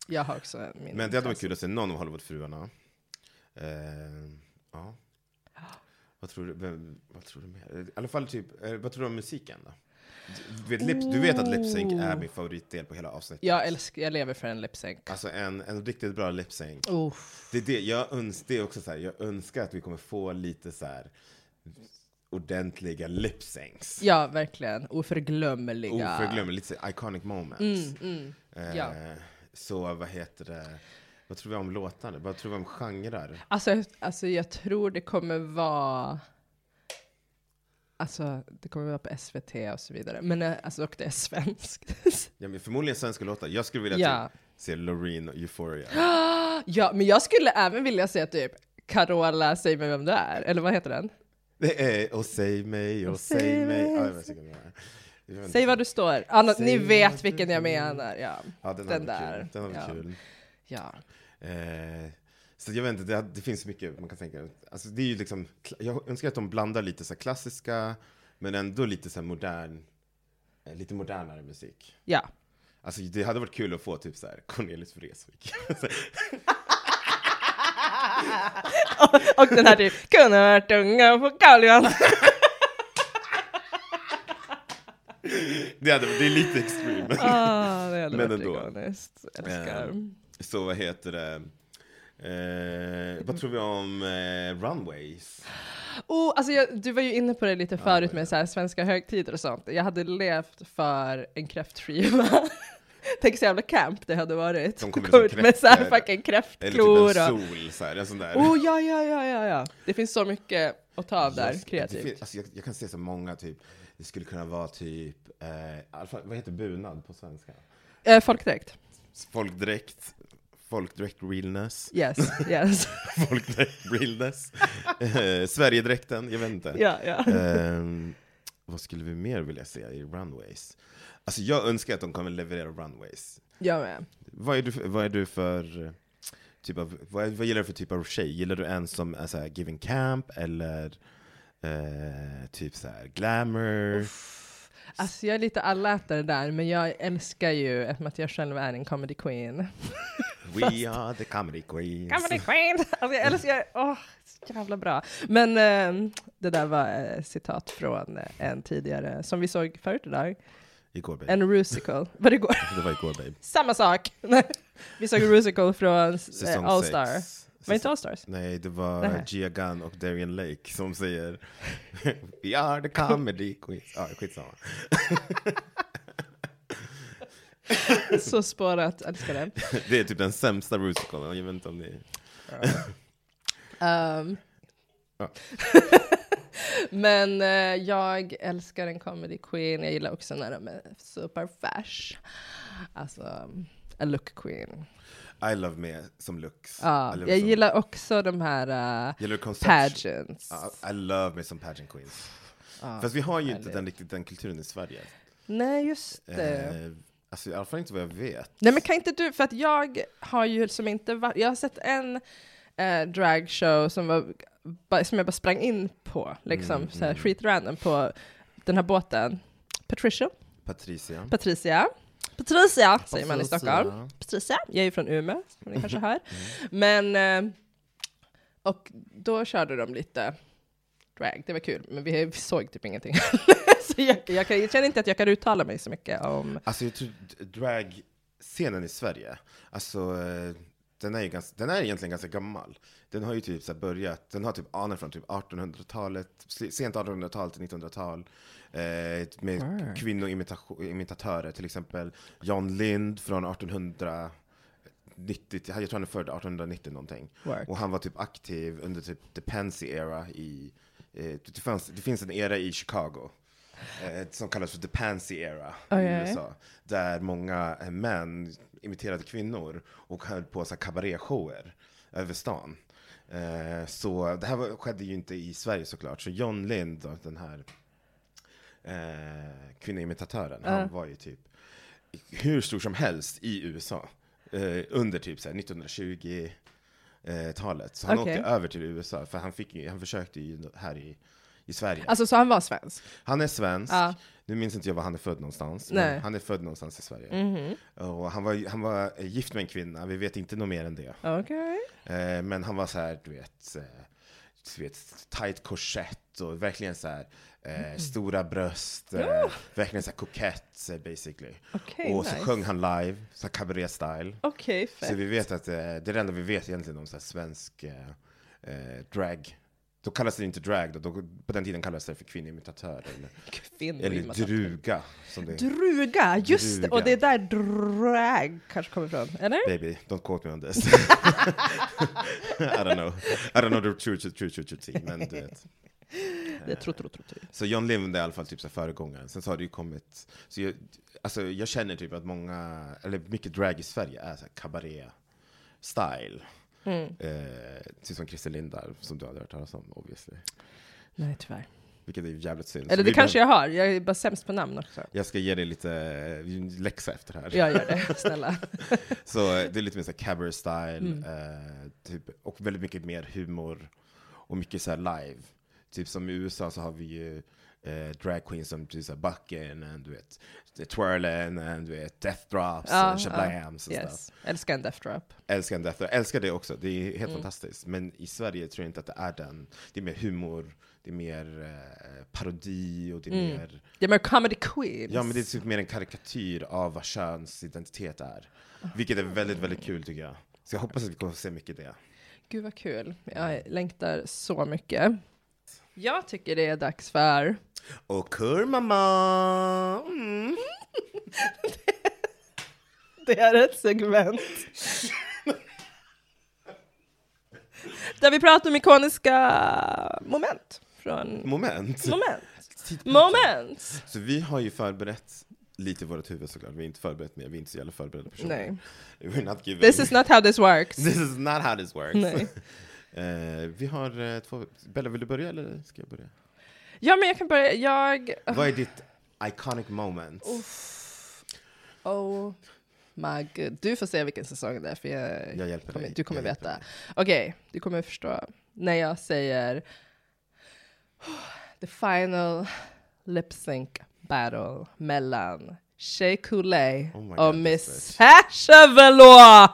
Speaker 1: Jag har också min.
Speaker 2: Men det hade varit kul att se någon av Hollywoodfruarna. Eh, Ja. Vad tror du, vem, vad tror du mer? I alla fall typ, eh, vad tror du om musiken då? Du vet, lip, du vet att lip-sync är min favoritdel på hela avsnittet?
Speaker 1: Jag älskar, jag lever för en lip-sync.
Speaker 2: Alltså en, en riktigt bra lip-sync.
Speaker 1: Uff.
Speaker 2: Det är det, jag öns- det är också så här, jag önskar att vi kommer få lite så här ordentliga lip-syncs.
Speaker 1: Ja, verkligen. Oförglömliga. Mm,
Speaker 2: Oförglömliga, lite så här iconic moments. Eh,
Speaker 1: ja.
Speaker 2: Så vad heter det, vad tror vi om låtarna? Vad tror vi om genrer?
Speaker 1: Alltså, alltså jag tror det kommer vara... Alltså det kommer vara på SVT och så vidare. Men eh, alltså, och det är svenskt.
Speaker 2: Ja, men förmodligen svenska låtar. Jag skulle vilja
Speaker 1: Ja.
Speaker 2: typ se Loreen och Euphoria.
Speaker 1: ja, men jag skulle även vilja se typ Carola, säg mig vem du är. Eller vad heter den?
Speaker 2: Det är, och säg mig, och säg mig. Ja, jag vet inte vad det är. Jag vet inte.
Speaker 1: Säg var du står. Anna,
Speaker 2: Säg
Speaker 1: ni
Speaker 2: vad
Speaker 1: vet
Speaker 2: du
Speaker 1: vilken jag
Speaker 2: står.
Speaker 1: menar. Ja,
Speaker 2: Ja, den,
Speaker 1: den
Speaker 2: där.
Speaker 1: där.
Speaker 2: Kul. Den hade varit
Speaker 1: Ja.
Speaker 2: kul.
Speaker 1: ja.
Speaker 2: Eh, så jag vet inte, det, det finns mycket man kan tänka. Alltså, det är ju liksom, jag önskar att de blandar lite så här klassiska, men ändå lite så här modern, eh, lite modernare musik.
Speaker 1: ja.
Speaker 2: Alltså det hade varit kul att få typ så här Cornelis Vreeswijk.
Speaker 1: Och den här typ, kunde ha varit unga på Karl Johan.
Speaker 2: det, hade, det är lite extreme.
Speaker 1: Ah, det hade
Speaker 2: Men
Speaker 1: varit
Speaker 2: ändå.
Speaker 1: ikoniskt. Älskar.
Speaker 2: Eh, så vad heter det? Eh, vad tror vi om eh, runways?
Speaker 1: Oh, alltså jag, du var ju inne på det lite förut med så här svenska högtider och sånt. Jag hade levt för en kräftskiva. Tänk så jävla camp det hade varit.
Speaker 2: De kommer liksom
Speaker 1: Gå
Speaker 2: som
Speaker 1: ut med så här
Speaker 2: kräftor.
Speaker 1: fucking
Speaker 2: Eller
Speaker 1: kräftklor
Speaker 2: typ en
Speaker 1: och...
Speaker 2: sol, så här, en sån där.
Speaker 1: Oh ja, ja, ja, ja, ja. Det finns så mycket att ta av där,
Speaker 2: Jag-
Speaker 1: kreativt.
Speaker 2: Det, fin- alltså, jag, jag kan se så många, typ, det skulle kunna vara typ, eh, i alla fall, vad heter bunad på svenska?
Speaker 1: Eh, folkdräkt.
Speaker 2: Folkdräkt, folkdräkt realness,
Speaker 1: Yes, yes.
Speaker 2: folkdräkt realness, eh, Sverigedräkten, jag vet inte.
Speaker 1: ja, ja.
Speaker 2: Ehm, vad skulle vi mer vilja se i runways? Alltså jag önskar att de kommer leverera runways.
Speaker 1: Jag med.
Speaker 2: Vad är du för, vad är du för eh, typ av, vad, är, vad gillar du för typ av tjej? Gillar du en som är såhär giving camp eller eh, typ såhär glamour?
Speaker 1: Alltså jag är lite allätare där, men jag älskar ju, eftersom att jag själv är en comedy queen.
Speaker 2: We are the comedy queens.
Speaker 1: Comedy Queen! Alltså jag älskar, åh, så jävla bra. Men eh, det där var eh, citat från eh, en tidigare, som vi såg förut idag,
Speaker 2: Igår babe.
Speaker 1: en rusical. Var det går?
Speaker 2: Det var igår babe.
Speaker 1: Samma sak! Nej. vi såg en rusical från eh,
Speaker 2: Säsong
Speaker 1: All Star.
Speaker 2: sex.
Speaker 1: Var inte Allstars?
Speaker 2: Nej, det var
Speaker 1: Nähä.
Speaker 2: Gia Gunn och Darian Lake som säger We are the comedy queens. Ja, skitsamma.
Speaker 1: Så spårat, älskar den.
Speaker 2: Det är typ den sämsta musicalen. Jag vet inte om ni...
Speaker 1: Ehm.
Speaker 2: Ja.
Speaker 1: Men eh, jag älskar en comedy queen. Jag gillar också när de är superfärs. Alltså, a look queen.
Speaker 2: I love me som Lux.
Speaker 1: Ja,
Speaker 2: I love
Speaker 1: jag
Speaker 2: som-
Speaker 1: gillar också de här eh,
Speaker 2: Gillar du koncept?
Speaker 1: pageants.
Speaker 2: I, I love me som pageant queens.
Speaker 1: Ja,
Speaker 2: Fast vi har ju inte
Speaker 1: härligt.
Speaker 2: den, riktigt den kulturen i Sverige.
Speaker 1: Nej, just det.
Speaker 2: Eh, alltså i alla fall inte vad jag vet.
Speaker 1: Nej men kan inte du, för att jag har ju som inte varit, jag har sett en eh, dragshow som, var, ba, som jag bara sprang in på, liksom
Speaker 2: Mm,
Speaker 1: så här,
Speaker 2: mm.
Speaker 1: skitrandom på den här båten. Patricia?
Speaker 2: Patricia.
Speaker 1: Patricia? Patricia säger man i Stockholm. Patricia, jag är ju från Umeå, som ni kanske
Speaker 2: Mm.
Speaker 1: hör. Men, eh, och då körde de lite drag, det var kul, men vi, vi såg typ ingenting. så jag, jag, kan, jag känner inte att jag kan uttala mig så mycket om...
Speaker 2: Alltså jag tror d- dragscenen i Sverige, alltså eh, den är ju ganska, den är egentligen ganska gammal. Den har ju typ så här börjat, den har typ anor från typ 1800-talet, se- sent 1800-tal till 1900-tal. Eh, med
Speaker 1: Word.
Speaker 2: kvinnoimitatörer, till exempel John Lind från 1890, till- jag tror han är född 1890 någonting.
Speaker 1: Work.
Speaker 2: Och han var typ aktiv under typ the Pansy era i, eh, det, fanns, det finns en era i Chicago eh, som kallas för the Pansy era
Speaker 1: Okej.
Speaker 2: i USA. Där många eh, män imiterade kvinnor och höll på så här kabaréshower över stan. Eh, så det här var, skedde ju inte i Sverige såklart. Så John Lind, då, den här eh, kvinnoimitatören, han var ju typ hur stor som helst i USA. Eh, under typ 1920-talet. Så han
Speaker 1: Okej.
Speaker 2: åkte över till USA, för han, fick, ju- han försökte ju här i, i Sverige.
Speaker 1: Alltså så han var svensk?
Speaker 2: Han är svensk.
Speaker 1: Ja.
Speaker 2: Nu minns inte jag var han är född någonstans.
Speaker 1: Nej. Mhm.
Speaker 2: Men han är född någonstans i Sverige. Och han, var, han var eh, gift med en kvinna, vi vet inte något mer än det.
Speaker 1: Okej.
Speaker 2: Eh, men han var så här, du vet, eh, du vet tight korsett och verkligen så här, eh,
Speaker 1: Mm.
Speaker 2: stora bröst, eh, verkligen så här kokett eh, basically.
Speaker 1: Okej,
Speaker 2: och
Speaker 1: nice.
Speaker 2: så sjöng han live, så här cabaret style.
Speaker 1: Okej,
Speaker 2: Så
Speaker 1: fett.
Speaker 2: vi vet att eh, det är det enda vi vet egentligen om så här svensk eh, eh, drag. Då kallas det inte drag, då, då, på den tiden kallades det för kvinnoimitatör. Eller,
Speaker 1: Kvinnor
Speaker 2: eller
Speaker 1: imitatör.
Speaker 2: druga, som det är.
Speaker 1: Mm. Druga, just det!
Speaker 2: Druga.
Speaker 1: Och det är där drag kanske kommer ifrån, eller?
Speaker 2: Baby, don't quote me on this. I don't know. I don't know the true, true, true, true, true tea, men du vet. Eh,
Speaker 1: Det är tro, tro, tro, tro.
Speaker 2: Så John Lind är i alla fall typ så här föregångaren. Sen så har det ju kommit, så jag, alltså jag känner typ att många, eller mycket drag i Sverige är så här cabaret-style.
Speaker 1: Mm.
Speaker 2: Eh, typ som Christer Lindar, som du hade hört talas om obviously.
Speaker 1: Nej, tyvärr.
Speaker 2: Vilket är jävligt synd.
Speaker 1: Eller
Speaker 2: Så
Speaker 1: det
Speaker 2: vi
Speaker 1: kanske
Speaker 2: behöver-
Speaker 1: jag har, jag är bara sämst på namn också.
Speaker 2: jag ska ge dig lite eh, läxa efter det här.
Speaker 1: Jag gör det, snälla.
Speaker 2: Så eh, det är lite mer så här cabaret style,
Speaker 1: Mm.
Speaker 2: eh, typ, och väldigt mycket mer humor och mycket så här live. Typ som i USA så har vi ju eh, drag queens som typ så här bucken, and, du vet, twirlen, and, du vet, death drops,
Speaker 1: Ja,
Speaker 2: och shablams och stuff.
Speaker 1: Yes. Älskar en death drop.
Speaker 2: Älskar en death drop, älskar det också, det är helt
Speaker 1: Mm.
Speaker 2: fantastiskt. Men i Sverige tror jag inte att det är den, det är mer humor, det är mer eh, parodi och det är
Speaker 1: Mm.
Speaker 2: mer
Speaker 1: Ja men comedy queens.
Speaker 2: Ja men det är typ mer en karikatyr av vad könsidentitet är. Vilket är väldigt, väldigt kul tycker jag. Så jag hoppas att vi kommer att se mycket det.
Speaker 1: Gud vad kul, jag längtar så mycket. Jag tycker det är dags för...
Speaker 2: Och kurmamma! Mm.
Speaker 1: Det är ett segment. Där vi pratar om ikoniska moment. Från...
Speaker 2: Moment!
Speaker 1: Moment. Moment!
Speaker 2: Så vi har ju förberett lite i vårt huvud såklart. Vi är inte förberett mer, vi är inte så jävla förberedda personer.
Speaker 1: Nej.
Speaker 2: We're not giving.
Speaker 1: This is not how this works.
Speaker 2: This is not how this works.
Speaker 1: Nej.
Speaker 2: Eh, vi har eh, två... Bella, vill du börja eller ska jag börja?
Speaker 1: Ja men jag kan börja, jag...
Speaker 2: Vad är ditt iconic moment?
Speaker 1: Oh my god. Du får se vilken säsong det är för jag,
Speaker 2: Jag hjälper
Speaker 1: kommer,
Speaker 2: dig.
Speaker 1: du kommer
Speaker 2: jag hjälper
Speaker 1: veta.
Speaker 2: dig.
Speaker 1: Okej, du kommer förstå. När jag säger the final lip sync battle mellan Shea Coulee
Speaker 2: Oh my
Speaker 1: och
Speaker 2: God,
Speaker 1: Miss
Speaker 2: this bitch.
Speaker 1: Sasha Velour!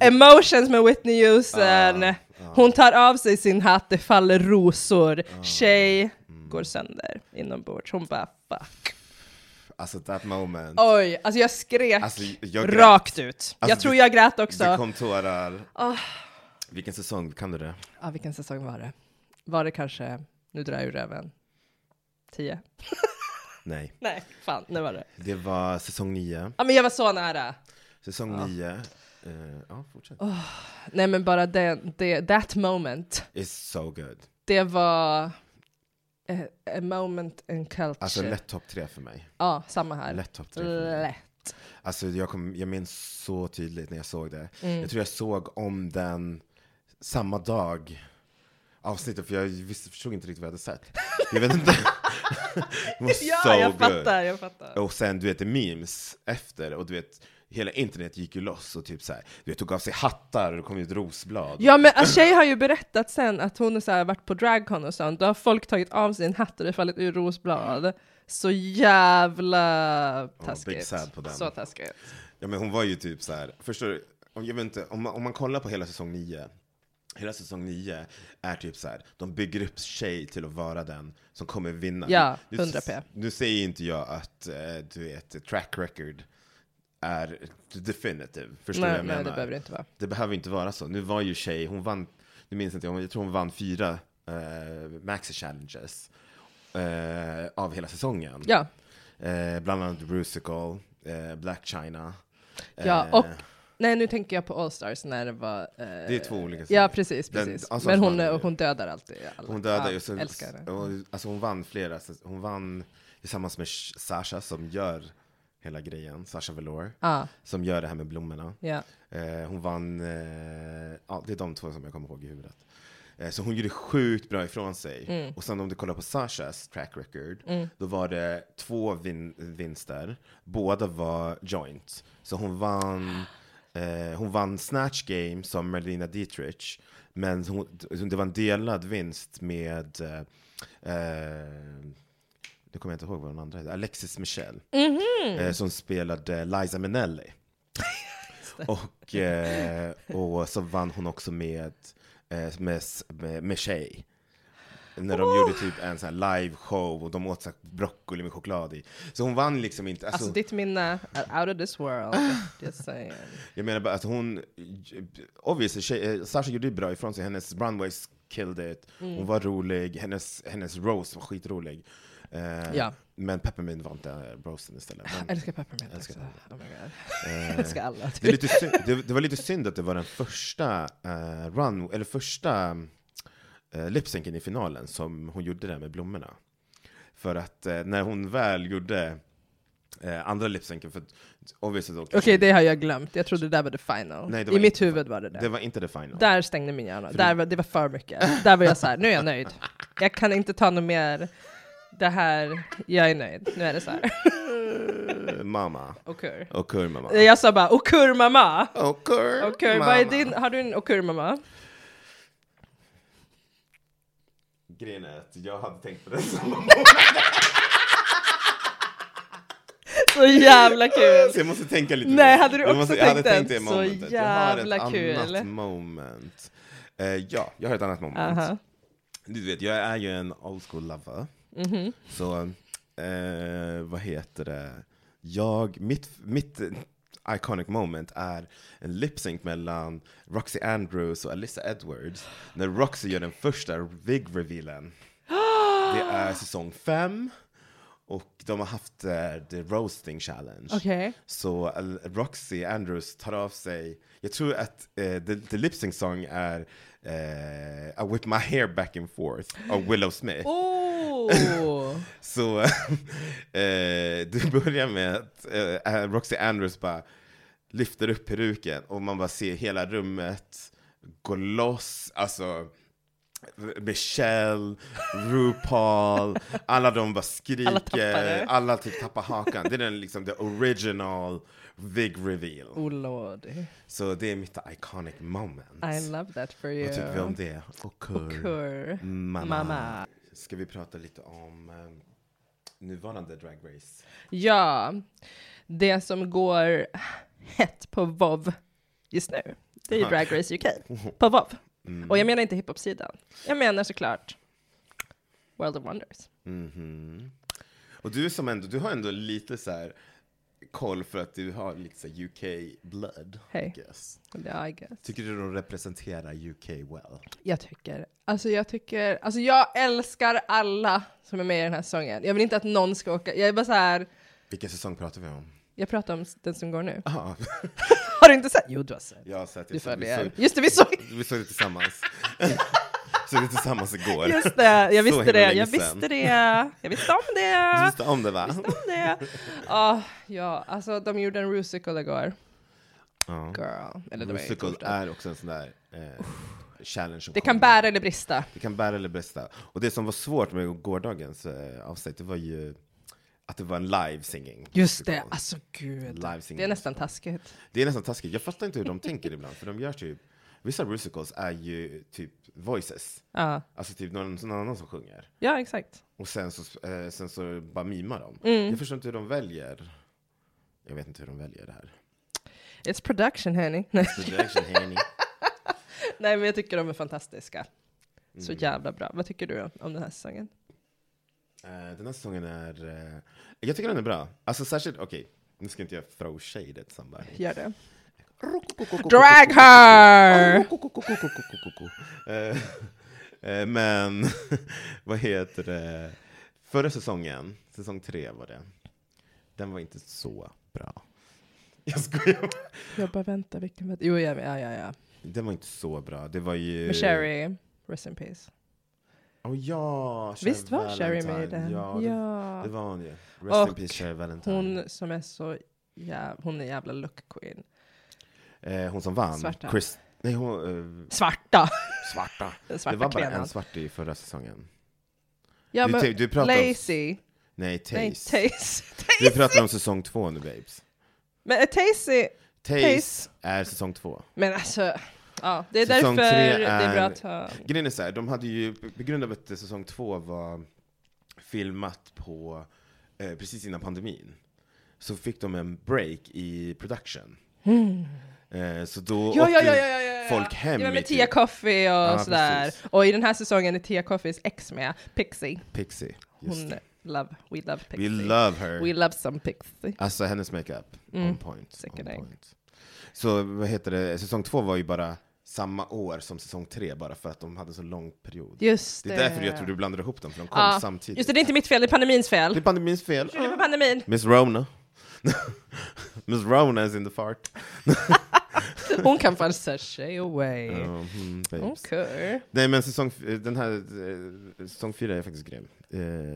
Speaker 1: Emotions med Whitney Houston.
Speaker 2: Ah, Ah.
Speaker 1: Hon tar av sig sin hatt, det faller rosor. Shay
Speaker 2: Mm.
Speaker 1: går sönder inombords. Hon bara fuck.
Speaker 2: Alltså that moment.
Speaker 1: Oj, alltså jag skrek
Speaker 2: Alltså, jag grät.
Speaker 1: rakt ut. jag
Speaker 2: Alltså,
Speaker 1: tror
Speaker 2: det-
Speaker 1: jag grät också.
Speaker 2: Det kom tårar. Vilken säsong? Kan du det?
Speaker 1: Ja, vilken säsong var det? Var det kanske, nu drar jag ur röven, tio?
Speaker 2: Nej.
Speaker 1: Nej, fan, nu var det.
Speaker 2: Det var säsong nio.
Speaker 1: Ja, men jag var så nära.
Speaker 2: Säsong
Speaker 1: Ah.
Speaker 2: nio. Eh, ja, fortsätt.
Speaker 1: Nej, men bara den, det, that moment.
Speaker 2: It's so good.
Speaker 1: Det var eh, a moment in culture.
Speaker 2: Alltså lätt topp tre för mig.
Speaker 1: ja, samma här.
Speaker 2: Lätt topp tre för mig.
Speaker 1: Lätt.
Speaker 2: Alltså jag, kom, jag minns så tydligt när jag såg det.
Speaker 1: Mm.
Speaker 2: Jag tror jag såg om den samma dag avsnittet, för jag visste, förstod inte riktigt vad jag hade sett. Jag vet inte. It was
Speaker 1: Ja,
Speaker 2: so
Speaker 1: jag
Speaker 2: good.
Speaker 1: fattar, jag fattar.
Speaker 2: Och sen du vet, det memes efter, och du vet, hela internet gick ju loss och typ så här, du vet, tog av sig hattar och det kom ut rosblad.
Speaker 1: Ja men Ashay har ju berättat sen att hon har varit på dragcon och sånt, då har folk tagit av sin hatt och det har fallit ur rosblad. Så jävla taskigt.
Speaker 2: big sad på den.
Speaker 1: Så taskigt.
Speaker 2: Ja men hon var ju typ så här, förstår du? Om, jag vet inte, om, man, om man kollar på hela säsong 9, hela säsong 9 är typ så här, de bygger upp tjej till att vara den som kommer vinna.
Speaker 1: Ja,
Speaker 2: Nu-
Speaker 1: 100p.
Speaker 2: Nu säger inte jag att, eh, du vet, track record är definitive, förstår du vad
Speaker 1: Nej,
Speaker 2: jag
Speaker 1: nej,
Speaker 2: menar?
Speaker 1: det behöver det inte vara.
Speaker 2: Det behöver inte vara så. Nu var ju tjej, hon vann, nu minns inte jag, jag tror hon vann fyra eh, maxi challenges eh, av hela säsongen.
Speaker 1: Ja,
Speaker 2: Eh, bland annat Rusical, eh, Black China.
Speaker 1: ja
Speaker 2: Eh,
Speaker 1: och nej nu tänker jag på All Stars när det var... eh,
Speaker 2: Det är två olika
Speaker 1: Ja
Speaker 2: serier.
Speaker 1: precis,
Speaker 2: Den-
Speaker 1: precis.
Speaker 2: All Stars
Speaker 1: men hon,
Speaker 2: vann ju.
Speaker 1: eh, hon dödar alltid alla.
Speaker 2: Hon dödade
Speaker 1: ja,
Speaker 2: ju, så,
Speaker 1: Älskar henne.
Speaker 2: och, alltså hon vann flera, så hon vann tillsammans med Sh- Sasha som gör hela grejen, Sasha Velour,
Speaker 1: Ja,
Speaker 2: som gör det här med blommorna.
Speaker 1: ja.
Speaker 2: Eh, hon vann, eh, ja det är de två som jag kommer ihåg i huvudet. Eh, så hon gjorde sjukt bra ifrån sig. Och sen om du kollar på Sashas track record, då var det två vin- vinster, båda var joint. Så hon vann, eh, hon vann Snatch Game som Merlina Dietrich, men hon, det var en delad vinst med eh, eh, nu kommer jag inte ihåg vad den andra hette, Alexis Michelle.
Speaker 1: Mhm.
Speaker 2: Eh, som spelade Liza Minnelli. och, eh, och så vann hon också med, eh, med, med, med Shay. När de gjorde typ en sån här live show och de åt så här broccoli med choklad i. Så hon vann liksom inte. Alltså,
Speaker 1: Alltså ditt minne är out of this world. Just saying.
Speaker 2: Jag menar bara att hon, obviously, tjej, eh, Sasha gjorde ju bra ifrån sig, hennes runways killed it,
Speaker 1: Mm.
Speaker 2: hon var rolig, hennes, hennes roast var skitrolig. Eh,
Speaker 1: Ja.
Speaker 2: Men Peppermint var inte roasten istället. Men,
Speaker 1: Älskar peppermint
Speaker 2: Älskar
Speaker 1: också. Oh my god. Älskar alla.
Speaker 2: Eh, det, är lite synd, det, det var lite synd att det var den första eh, run, eller första eh, lipsynken i finalen som hon gjorde det med blommorna. För att eh, när hon väl gjorde eh, andra lipsynken, för att obviously då...
Speaker 1: Okej, det har jag glömt. Jag trodde det där var the final.
Speaker 2: Nej, det var
Speaker 1: I
Speaker 2: inte
Speaker 1: mitt
Speaker 2: the
Speaker 1: huvud var det det.
Speaker 2: Det var inte the final.
Speaker 1: Där stängde min hjärna. Där var, det var för mycket. Där var jag så här, nu är jag nöjd. Jag kan inte ta något mer. Det här, jag är nöjd. Nu är det så här.
Speaker 2: Eh, Mamma.
Speaker 1: Okur.
Speaker 2: Okur mamma.
Speaker 1: Jag sa bara okur mamma.
Speaker 2: Okur
Speaker 1: Okur, vad är din, har du en okur mamma?
Speaker 2: Grejen är att jag hade tänkt på det
Speaker 1: Så jävla kul.
Speaker 2: så jag måste tänka lite
Speaker 1: Nej,
Speaker 2: mer.
Speaker 1: hade du
Speaker 2: jag
Speaker 1: också
Speaker 2: jag hade
Speaker 1: tänkt
Speaker 2: tänkt
Speaker 1: den?
Speaker 2: det
Speaker 1: Så
Speaker 2: momentet. jag har ett
Speaker 1: jävla kul.
Speaker 2: annat moment. Eh, ja, jag har ett annat moment.
Speaker 1: Aha.
Speaker 2: Du vet, jag är ju en old school lover. Så, eh, vad heter det? Jag, mitt, mitt eh, iconic moment är en lip sync mellan Roxy Andrews och Alyssa Edwards. När Roxy gör den första wig revealen. Det är säsong fem. Och de har haft eh, the roasting challenge.
Speaker 1: Okej.
Speaker 2: Så Al- Roxy Andrews tar av sig, jag tror att eh, the, the lip sync song är eh, I whip my hair back and forth av Willow Smith.
Speaker 1: Oh.
Speaker 2: Så eh, det börjar med att eh, Roxy Andrews bara lyfter upp peruken och man bara ser hela rummet gå loss, alltså Michelle, RuPaul, alla de bara skriker,
Speaker 1: Alla tappade.
Speaker 2: alla typ tappar hakan. Det är den liksom the original big reveal.
Speaker 1: oh lord.
Speaker 2: Så det är mitt iconic moment.
Speaker 1: I love that for you.
Speaker 2: Vad tycker vi om det? Och kur.
Speaker 1: Okur
Speaker 2: Mamma.
Speaker 1: mamma.
Speaker 2: Ska vi prata lite om eh, nuvarande Drag Race?
Speaker 1: Ja, det som går hett på VOV just nu, det är ju Drag Race UK
Speaker 2: Mm.
Speaker 1: på VOV. Och jag menar inte hiphop-sidan. Jag menar såklart World of Wonders.
Speaker 2: Mhm. Och du som ändå, du har ändå lite så här koll för att du har lite så här UK blood.
Speaker 1: Hey.
Speaker 2: I guess.
Speaker 1: Ja, I guess.
Speaker 2: Tycker du de representerar UK well?
Speaker 1: Jag tycker, alltså jag tycker, alltså jag älskar alla som är med i den här säsongen. Jag vill inte att någon ska åka, jag är bara så här,
Speaker 2: Vilken säsong pratar vi om?
Speaker 1: jag pratar om den som går nu.
Speaker 2: Ah,
Speaker 1: Har du inte sett? Jo, du har sett.
Speaker 2: jag har sett det.
Speaker 1: Du
Speaker 2: Så vi
Speaker 1: följer.
Speaker 2: såg-
Speaker 1: Just det, vi såg,
Speaker 2: Vi såg det tillsammans. såg det tillsammans igår.
Speaker 1: just det, jag
Speaker 2: Så
Speaker 1: visste det,
Speaker 2: himla länge
Speaker 1: jag
Speaker 2: sedan.
Speaker 1: visste det, jag visste om
Speaker 2: Du
Speaker 1: det.
Speaker 2: visste om det va?
Speaker 1: Jag visste om det. Ah, ja, alltså de gjorde en rusical igår.
Speaker 2: Ja.
Speaker 1: Girl. Eller det var ju
Speaker 2: Musical
Speaker 1: torsdag.
Speaker 2: är också en sån där eh, challenge som
Speaker 1: Det
Speaker 2: kommer.
Speaker 1: kan bära eller brista.
Speaker 2: Det kan bära eller brista. Och det som var svårt med gårdagens eh, avsnitt, det var ju att det var en live singing.
Speaker 1: Just det,
Speaker 2: musical.
Speaker 1: alltså gud.
Speaker 2: Live
Speaker 1: Det är
Speaker 2: singing.
Speaker 1: nästan taskigt.
Speaker 2: Det är nästan taskigt. Jag fattar inte hur de tänker ibland, för de gör typ, vissa musicals är ju typ voices.
Speaker 1: Ja,
Speaker 2: Alltså typ någon, någon annan som sjunger.
Speaker 1: ja exakt.
Speaker 2: Och sen så, eh, sen så bara mimar de.
Speaker 1: Mm.
Speaker 2: Jag förstår inte hur de väljer. Jag vet inte hur de väljer det här.
Speaker 1: It's production, honey. Nej.
Speaker 2: Production, honey.
Speaker 1: Nej, men jag tycker de är fantastiska. Så
Speaker 2: Mm.
Speaker 1: jävla bra. Vad tycker du om- om den här säsongen?
Speaker 2: Eh, Den här säsongen är... eh, Jag tycker den är bra. Alltså särskilt, okej, nu ska inte jag throw shade at somebody.
Speaker 1: Gör det. Drag her!
Speaker 2: Eh, eh, Men, vad heter det? Förra säsongen, säsong tre var det. Den var inte så bra. Jag skojar.
Speaker 1: Jag bara väntar, vilken var Jo, ja, ja, ja. ja.
Speaker 2: Den var inte så bra. Det var ju...
Speaker 1: Med Sherry, rest in peace.
Speaker 2: Åh ja, Cher
Speaker 1: Visst var Sherry med i
Speaker 2: Valentine.
Speaker 1: den?
Speaker 2: Ja, det,
Speaker 1: Ja.
Speaker 2: det var hon ju. Rest in
Speaker 1: Och
Speaker 2: peace Cher Valentine. Hon,
Speaker 1: Hon som är så jävla... Hon är jävla look queen.
Speaker 2: eh, hon som vann.
Speaker 1: Svarta.
Speaker 2: Chris, nej, hon, eh,
Speaker 1: Svarta!
Speaker 2: svarta.
Speaker 1: Den
Speaker 2: Det var
Speaker 1: svarta
Speaker 2: bara en
Speaker 1: klänan.
Speaker 2: svart i förra säsongen.
Speaker 1: Ja,
Speaker 2: du,
Speaker 1: men...
Speaker 2: te- du pratar om...
Speaker 1: Lazy.
Speaker 2: Nej,
Speaker 1: Nej,
Speaker 2: Taze.
Speaker 1: Taze.
Speaker 2: Du pratar om säsong två nu, babes.
Speaker 1: Men är Taze...
Speaker 2: Taze
Speaker 1: Taze.
Speaker 2: är säsong två.
Speaker 1: Men alltså... Ja, det är
Speaker 2: Säsong
Speaker 1: därför
Speaker 2: tre
Speaker 1: det är bra
Speaker 2: är-
Speaker 1: att ha...
Speaker 2: Grejen är så här, de hade ju, på grund av att säsong två var filmat på, eh, precis innan pandemin, så fick de en break i production. Eh, så då
Speaker 1: Hmm. Ja, ja,
Speaker 2: åkte
Speaker 1: ja, ja, ja, ja.
Speaker 2: folk hem
Speaker 1: ja, men
Speaker 2: i
Speaker 1: med
Speaker 2: typ
Speaker 1: Tia Coffee och
Speaker 2: Ja,
Speaker 1: sådär.
Speaker 2: precis.
Speaker 1: Och i den här säsongen är Tia Coffees ex med, Pixie.
Speaker 2: Pixie. Just
Speaker 1: Hon,
Speaker 2: det.
Speaker 1: love, we love Pixie.
Speaker 2: We love her.
Speaker 1: We Mm. love some Pixie.
Speaker 2: Alltså hennes makeup, on point. On
Speaker 1: sickening.
Speaker 2: point. Så vad heter det, säsong två var ju bara samma år som säsong tre, bara för att de hade så lång period.
Speaker 1: Just
Speaker 2: Det
Speaker 1: det.
Speaker 2: är därför jag tror du blandar ihop dem, för de kom
Speaker 1: Ja,
Speaker 2: samtidigt.
Speaker 1: Just det, det är inte mitt fel, det är pandemins fel.
Speaker 2: Det är pandemins fel.
Speaker 1: Det är pandemin.
Speaker 2: Miss Rona. Miss Rona is in the fart.
Speaker 1: Hon kan fan sashay away.
Speaker 2: Ja, mm, babes.
Speaker 1: Okej.
Speaker 2: Nej men säsong, f- den här, eh, säsong fyra är faktiskt grym.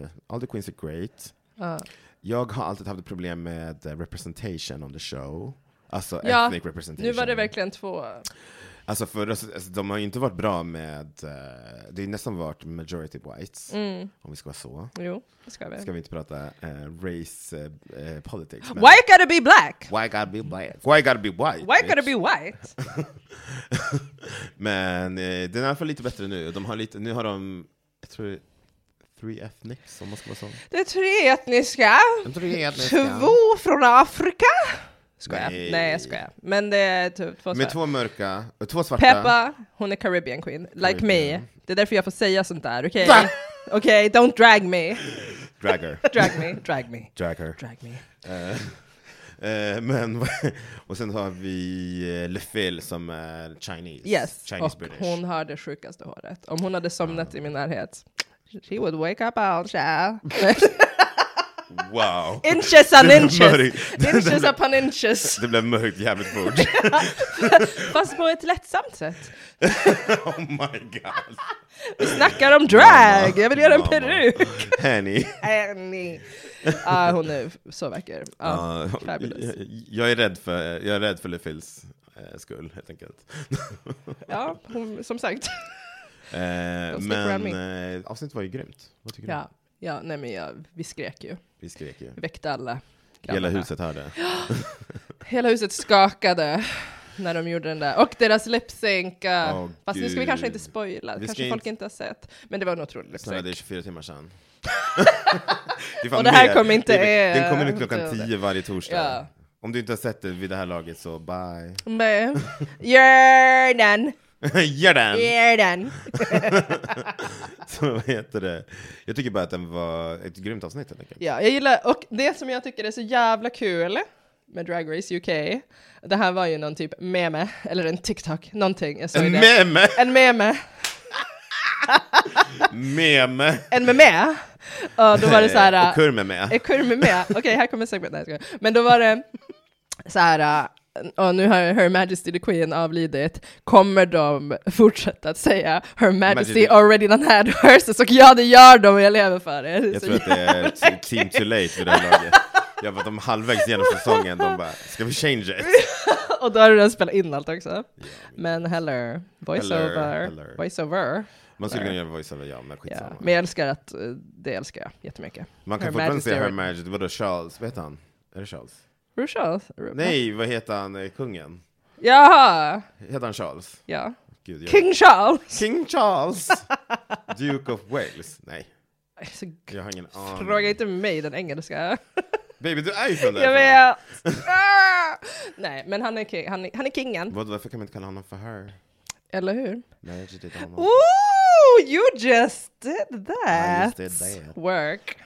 Speaker 2: Eh, All the Queens are great.
Speaker 1: Ja.
Speaker 2: Jag har alltid haft ett problem med eh, representation on the show. Alltså
Speaker 1: Ja,
Speaker 2: ethnic representation.
Speaker 1: Nu var det verkligen två...
Speaker 2: Alltså för, alltså, de har ju inte varit bra med, eh, det är nästan varit majority whites,
Speaker 1: Mm.
Speaker 2: om vi ska vara så.
Speaker 1: Jo, det ska vi.
Speaker 2: Ska vi inte prata eh, race eh, eh, politics? men-
Speaker 1: Why gotta be black?
Speaker 2: Why gotta be black? Why gotta be white?
Speaker 1: Why gotta
Speaker 2: bitch?
Speaker 1: be white?
Speaker 2: Men eh, den är i alla fall lite bättre nu. De har lite, nu har de, jag tror, three ethnics om man ska vara sån.
Speaker 1: Det är tre etniska.
Speaker 2: De tre etniska.
Speaker 1: Två från Afrika! Skojar.
Speaker 2: Nej.
Speaker 1: Nej. Nej, jag skojar. Men det är typ två
Speaker 2: Med
Speaker 1: svenskar.
Speaker 2: två mörka, och två svarta.
Speaker 1: Peppa, hon är Caribbean queen, like me.
Speaker 2: Caribbean.
Speaker 1: Det är därför jag får säga sånt där, okej?
Speaker 2: Va?
Speaker 1: Okej, don't drag me.
Speaker 2: Dragger.
Speaker 1: Drag me, drag me,
Speaker 2: Dragger.
Speaker 1: drag me.
Speaker 2: Eh, men, och sen har vi eh, LeFil som är Chinese.
Speaker 1: Yes,
Speaker 2: Chinese
Speaker 1: och
Speaker 2: British.
Speaker 1: hon har det sjukaste håret. Om hon hade somnat i min närhet, she would wake up all child.
Speaker 2: Wow.
Speaker 1: inches on inches!
Speaker 2: Mörk.
Speaker 1: inches upon inches!
Speaker 2: Det blev mörkt jävligt fort.
Speaker 1: Fast på ett lättsamt sätt.
Speaker 2: oh my god.
Speaker 1: Vi snackar om drag! Jag vill göra en
Speaker 2: Mamma.
Speaker 1: peruk!
Speaker 2: Henny.
Speaker 1: Annie. Ja, hon är så vacker. Ja,
Speaker 2: Ja,
Speaker 1: fabulous.
Speaker 2: jag, jag är rädd för, jag är rädd för LeFils eh, skull helt enkelt.
Speaker 1: ja hon, som sagt.
Speaker 2: Eh,
Speaker 1: stick around
Speaker 2: men eh, avsnittet var ju grymt. Vad tycker
Speaker 1: Ja, ja nej men jag, vi skrek ju.
Speaker 2: du? Vi skrek ju.
Speaker 1: Vi väckte alla. grabbarna.
Speaker 2: Hela huset hörde.
Speaker 1: Hela huset skakade när de gjorde den där. Och deras lip-sync. eh,
Speaker 2: Åh,
Speaker 1: Fast nu ska vi
Speaker 2: gud.
Speaker 1: kanske inte spoila.
Speaker 2: Vi ska
Speaker 1: Kanske folk
Speaker 2: inte-
Speaker 1: inte har sett. Men det var en otrolig
Speaker 2: Snälla, det är
Speaker 1: lip-sync.
Speaker 2: 24 timmar sedan. är fan
Speaker 1: Och det här
Speaker 2: mer.
Speaker 1: kommer inte-
Speaker 2: Det- Den kommer ut
Speaker 1: eh,
Speaker 2: klockan
Speaker 1: inte-
Speaker 2: 10 varje torsdag.
Speaker 1: Ja.
Speaker 2: Om du inte har sett det vid det här laget så bye.
Speaker 1: Men- Gör den!
Speaker 2: Gör den!
Speaker 1: Gör den!
Speaker 2: Så vad heter det? Jag tycker bara att den var ett grymt avsnitt helt enkelt.
Speaker 1: Ja, jag gillar, och det som jag tycker är så jävla kul med Drag Race UK. Det här var ju någon typ meme, eller en TikTok, någonting. Jag såg
Speaker 2: En
Speaker 1: det.
Speaker 2: meme!
Speaker 1: En meme.
Speaker 2: Meme!
Speaker 1: En meme. Och då var det så här... eh,
Speaker 2: Och kurme med.
Speaker 1: Är kurmen med? Okej, här kommer segmentet. Nej, jag skojar. Men då var det så här, äh, och nu har Her Majesty the Queen avlidit, kommer de fortsätta att säga Her Majesty
Speaker 2: Majesty.
Speaker 1: already done had horses? Och ja, det gör de, och jag lever för det.
Speaker 2: Jag
Speaker 1: Så
Speaker 2: tror att det är t- team too late för det här laget. Jag var de halvvägs genom säsongen, de bara “ska vi change it?”
Speaker 1: jä- och då har du redan spelat in allt också. Men heller, voiceover,
Speaker 2: Heller, heller.
Speaker 1: voiceover.
Speaker 2: Man skulle kunna göra voiceover, ja, men
Speaker 1: Ja.
Speaker 2: skitsamma.
Speaker 1: Men jag älskar att, eh, det älskar jag jättemycket.
Speaker 2: Man kan
Speaker 1: Her
Speaker 2: fortfarande
Speaker 1: Majesty
Speaker 2: säga Her
Speaker 1: already-
Speaker 2: Majesty, vadå Charles, vad heter han? Är det Charles?
Speaker 1: Rushall?
Speaker 2: Nej, vad heter han, eh, kungen?
Speaker 1: Jaha!
Speaker 2: Heter han Charles?
Speaker 1: Ja.
Speaker 2: Gud, jag...
Speaker 1: King Charles!
Speaker 2: King Charles! Duke of Wales? Nej,
Speaker 1: Alltså,
Speaker 2: jag har ingen aning.
Speaker 1: Fråga inte mig den engelska.
Speaker 2: Baby, du är ju från
Speaker 1: Jag
Speaker 2: där.
Speaker 1: vet! Ah! Nej, men han är, king, han, är, han är kingen.
Speaker 2: Vad, varför kan man inte kalla honom för her?
Speaker 1: Eller hur?
Speaker 2: Marriage did
Speaker 1: Ooh, you just did
Speaker 2: I
Speaker 1: that!
Speaker 2: just did that.
Speaker 1: Work.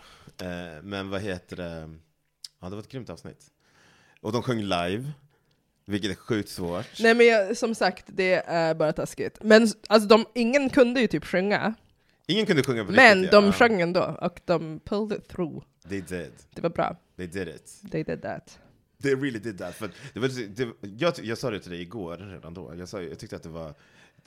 Speaker 2: Eh, men vad heter det? Ja, det var ett grymt avsnitt. Och de sjöng live, vilket är sjukt svårt.
Speaker 1: Nej men jag, som sagt, det är bara taskigt. Men s- alltså, de, ingen kunde ju typ sjunga,
Speaker 2: Ingen kunde sjunga på
Speaker 1: men
Speaker 2: riktigt.
Speaker 1: de
Speaker 2: ja.
Speaker 1: sjöng ändå och de pulled it through.
Speaker 2: They did.
Speaker 1: Det var bra.
Speaker 2: They did it.
Speaker 1: They did that.
Speaker 2: They really did that. För det var, det, jag, ty- jag sa det till dig igår, redan då. Jag, sa, jag tyckte att det var...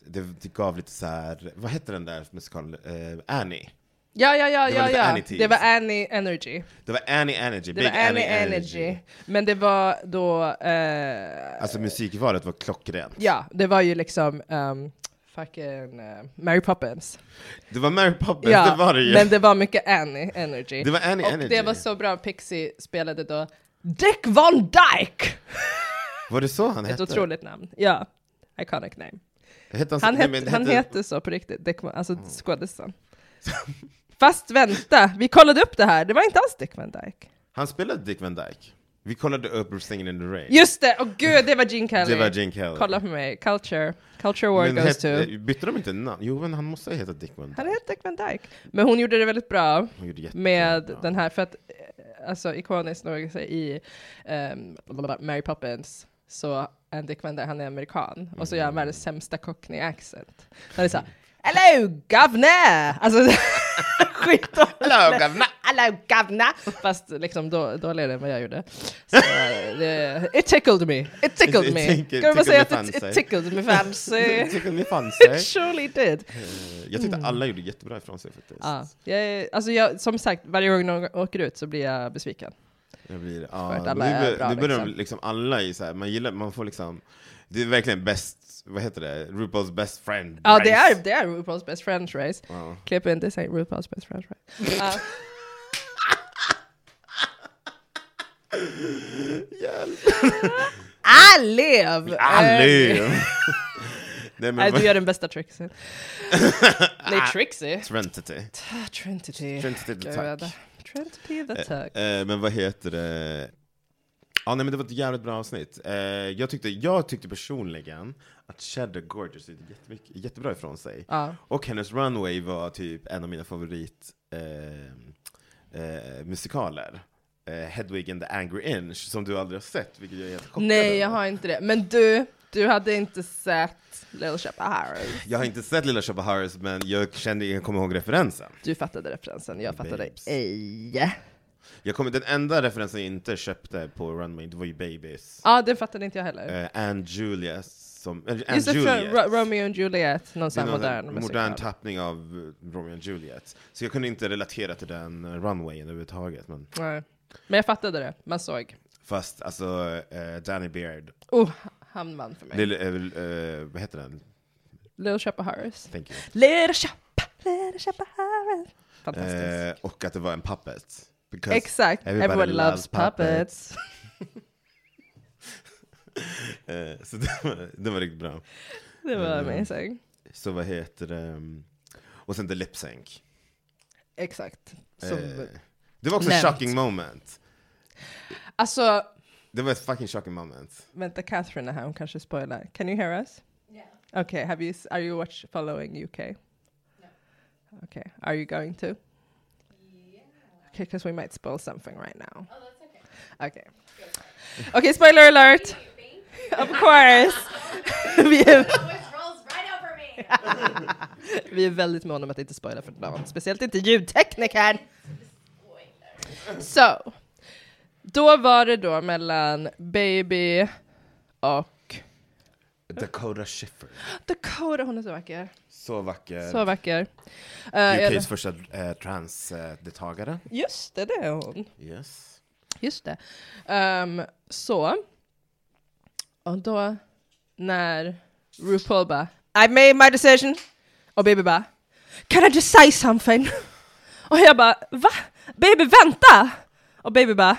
Speaker 2: Det, det gav lite så här... Vad hette den där musikalen? Eh, Annie.
Speaker 1: Ja, ja, ja,
Speaker 2: Det var
Speaker 1: ja,
Speaker 2: lite
Speaker 1: ja.
Speaker 2: Annie-tease.
Speaker 1: Det var Annie Energy.
Speaker 2: Det var Annie Energy.
Speaker 1: Det var Annie Energy. Men det var då... eh,
Speaker 2: Alltså musikvalet var klockrent.
Speaker 1: Ja, det var ju liksom ehm, fucking eh, Mary Poppins.
Speaker 2: Det var Mary Poppins,
Speaker 1: ja,
Speaker 2: det var det ju.
Speaker 1: Men det var mycket Annie Energy.
Speaker 2: Det var Annie
Speaker 1: och
Speaker 2: Energy.
Speaker 1: det var så bra, Pixie spelade då Dick Van Dyke!
Speaker 2: Var det så han
Speaker 1: Ett
Speaker 2: hette?
Speaker 1: otroligt namn. Ja, iconic name.
Speaker 2: Hette så-
Speaker 1: Han,
Speaker 2: nej,
Speaker 1: het,
Speaker 2: men Mm.
Speaker 1: han hette så på riktigt, Dick Van, alltså skådisen. Fast vänta, vi kollade upp det här, det var inte alls Dick Van Dyke.
Speaker 2: Han spelade Dick Van Dyke. Vi kollade upp Singin' in the Rain.
Speaker 1: Just det, och gud, det var Gene Kelly.
Speaker 2: Det var Gene Kelly.
Speaker 1: Kolla på mig, Culture, Culture War
Speaker 2: Men
Speaker 1: goes
Speaker 2: hette-
Speaker 1: to...
Speaker 2: Bytte de inte namn? Jo, men han måste ha hetat Dick Van
Speaker 1: Han
Speaker 2: Dyke.
Speaker 1: hette Dick Van Dyke. Men hon gjorde det väldigt bra.
Speaker 2: Hon gjorde jättebra.
Speaker 1: med
Speaker 2: Ja.
Speaker 1: den här, för att eh, alltså, ikoniskt nog så i ehm, blablabla, Mary Poppins så är Dick Van Dyke, han är amerikan, och så gör han världens sämsta cockney accent. Han är såhär Hello governor! Alltså skitdåligt.
Speaker 2: Hello, governor!
Speaker 1: Hello governor! Fast liksom då, dåligare än vad jag gjorde. Så, eh, det, it tickled me, it tickled
Speaker 2: It
Speaker 1: me.
Speaker 2: tickled-
Speaker 1: Kan man bara
Speaker 2: tickled
Speaker 1: säga att
Speaker 2: me
Speaker 1: it, it
Speaker 2: fancy.
Speaker 1: tickled me fancy?
Speaker 2: Tycker ni fanns
Speaker 1: It
Speaker 2: sig?
Speaker 1: surely did.
Speaker 2: Jag tyckte alla gjorde jättebra ifrån sig faktiskt.
Speaker 1: Mm. Ja, jag, är- alltså jag, som sagt, varje gång någon åker ut så blir jag besviken.
Speaker 2: Jag blir,
Speaker 1: För
Speaker 2: ja,
Speaker 1: att
Speaker 2: men
Speaker 1: alla
Speaker 2: nu,
Speaker 1: är
Speaker 2: bör-
Speaker 1: bra,
Speaker 2: nu börjar
Speaker 1: liksom.
Speaker 2: de liksom alla i så här, man gillar, man får liksom, det är verkligen bäst, vad heter det, RuPaul's best friend
Speaker 1: Ja, det
Speaker 2: race.
Speaker 1: är, det är RuPaul's Best Friends Race.
Speaker 2: Ja.
Speaker 1: Klipp in, det säger RuPaul's Best Friends Race. Ja. Allev!
Speaker 2: Allö! Nej men
Speaker 1: Eh, Nej, du
Speaker 2: vad,
Speaker 1: gör den bästa Trixie. Nej, Trixie?
Speaker 2: Trentity.
Speaker 1: Ah, Trinity.
Speaker 2: Trentity the
Speaker 1: Gud.
Speaker 2: Tuck.
Speaker 1: Trinity the Tuck.
Speaker 2: Eh, men vad heter det? Ja, nej, men det var ett jävligt bra avsnitt. Eh, jag, tyckte, jag tyckte personligen att Cheddar Gorgeous gjorde jättemycket- jättebra ifrån sig.
Speaker 1: Ja.
Speaker 2: Och hennes runway var typ en av mina favorit eh, eh, musikaler. Eh, Hedwig and the Angry Inch, som du aldrig har sett, vilket jag är helt chockad
Speaker 1: Nej,
Speaker 2: över.
Speaker 1: jag har inte det. Men du, du hade inte sett Little Shop of Harris.
Speaker 2: jag har inte sett Lilla Shoppa Harris, men jag kände, jag kommer ihåg referensen.
Speaker 1: Du fattade referensen, jag fattade
Speaker 2: Babes.
Speaker 1: ej. Ja,
Speaker 2: Jag kommer, den enda referensen jag inte köpte på runway, det var ju Babies.
Speaker 1: den fattade inte jag heller.
Speaker 2: Eh, Anne Julia, som... Äh, Anne
Speaker 1: Just det,
Speaker 2: Juliet.
Speaker 1: för Ro- Romeo and Juliet, någon
Speaker 2: Det
Speaker 1: sån
Speaker 2: är
Speaker 1: här
Speaker 2: någon
Speaker 1: modern
Speaker 2: modern,
Speaker 1: musikal.
Speaker 2: modern tappning av eh, Romeo and Juliet. Så jag kunde inte relatera till den eh, runwayen överhuvudtaget. Men
Speaker 1: Nej. Men jag fattade det, man såg.
Speaker 2: fast alltså, eh, Danny Beard,
Speaker 1: Oh, han vann för mig. Lil-
Speaker 2: Lil, eh, eh, vad heter den?
Speaker 1: Little Shop of Harris.
Speaker 2: Thank you.
Speaker 1: Little Shop, Little Shop of Harris. Fantastiskt.
Speaker 2: Eh, och att det var en puppet. Because
Speaker 1: Exakt, everybody, loves puppets.
Speaker 2: Eh, så det var, det var riktigt bra.
Speaker 1: Det var
Speaker 2: Mm.
Speaker 1: amazing.
Speaker 2: Så vad heter det? Och sen The Lip Sync.
Speaker 1: Exakt. Som,
Speaker 2: Eh, det var också
Speaker 1: nämnt.
Speaker 2: ett shocking moment.
Speaker 1: Alltså,
Speaker 2: Det var ett fucking shocking moment.
Speaker 1: vänta, Catherine är här, hon kanske spoilar. Can you hear us? Yeah. Okay, have you, s- are you watch, following UK? No. Okay, are you going to? Yeah. Okay, because we might spoil something right now. Oh, that's okay. Okay. Okej, spoiler alert! Of course! vi, är,
Speaker 4: Oh, rolls right over me.
Speaker 1: vi är väldigt måna om att inte spoila för någon, speciellt inte ljudteknikern! So, då var det då mellan Baby och
Speaker 2: Dakota Schiffer.
Speaker 1: Dakota, hon är så vacker.
Speaker 2: Så vacker.
Speaker 1: Så vacker. Eh,
Speaker 2: UKs första eh, transdeltagare.
Speaker 1: just det, det är hon.
Speaker 2: yes.
Speaker 1: Just det. Ehm, så. Och då när RuPaul bara I made my decision. Och baby bara Can I just say something? Och jag bara Va? Baby vänta! Och baby bara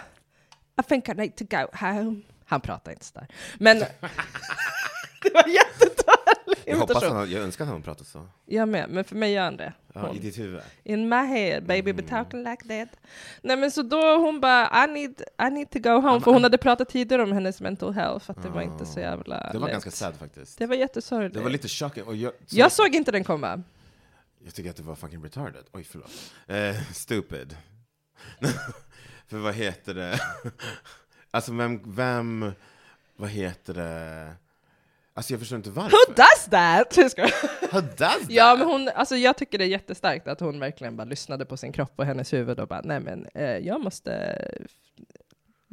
Speaker 1: I think I need to go home. Han pratar inte sådär. Men det var jättedålig
Speaker 2: Jag, hoppas
Speaker 1: imitation.
Speaker 2: han, jag önskar att han pratade så.
Speaker 1: Jag med, men för mig gör han det.
Speaker 2: Ja, I ditt huvud.
Speaker 1: In my head, baby
Speaker 2: Mm.
Speaker 1: be talking like that. Nej men så då hon bara, I need, I need to go home, för hon hade pratat tidigare om hennes mental health, att det var inte så jävla
Speaker 2: Ah. Det var
Speaker 1: lätt.
Speaker 2: ganska sad faktiskt.
Speaker 1: Det var jättesorgligt.
Speaker 2: Det var lite shocking. Och jag, så,
Speaker 1: Jag såg inte den komma.
Speaker 2: jag tycker att det var fucking retarded. Oj, förlåt. Eh, stupid. För vad heter det? alltså vem, vem, vad heter det? Alltså jag förstår inte varför.
Speaker 1: Who does that? Jag skojar.
Speaker 2: Who does
Speaker 1: ja men hon, alltså jag tycker det är jättestarkt att hon verkligen bara lyssnade på sin kropp och hennes huvud och bara, nej men eh, jag måste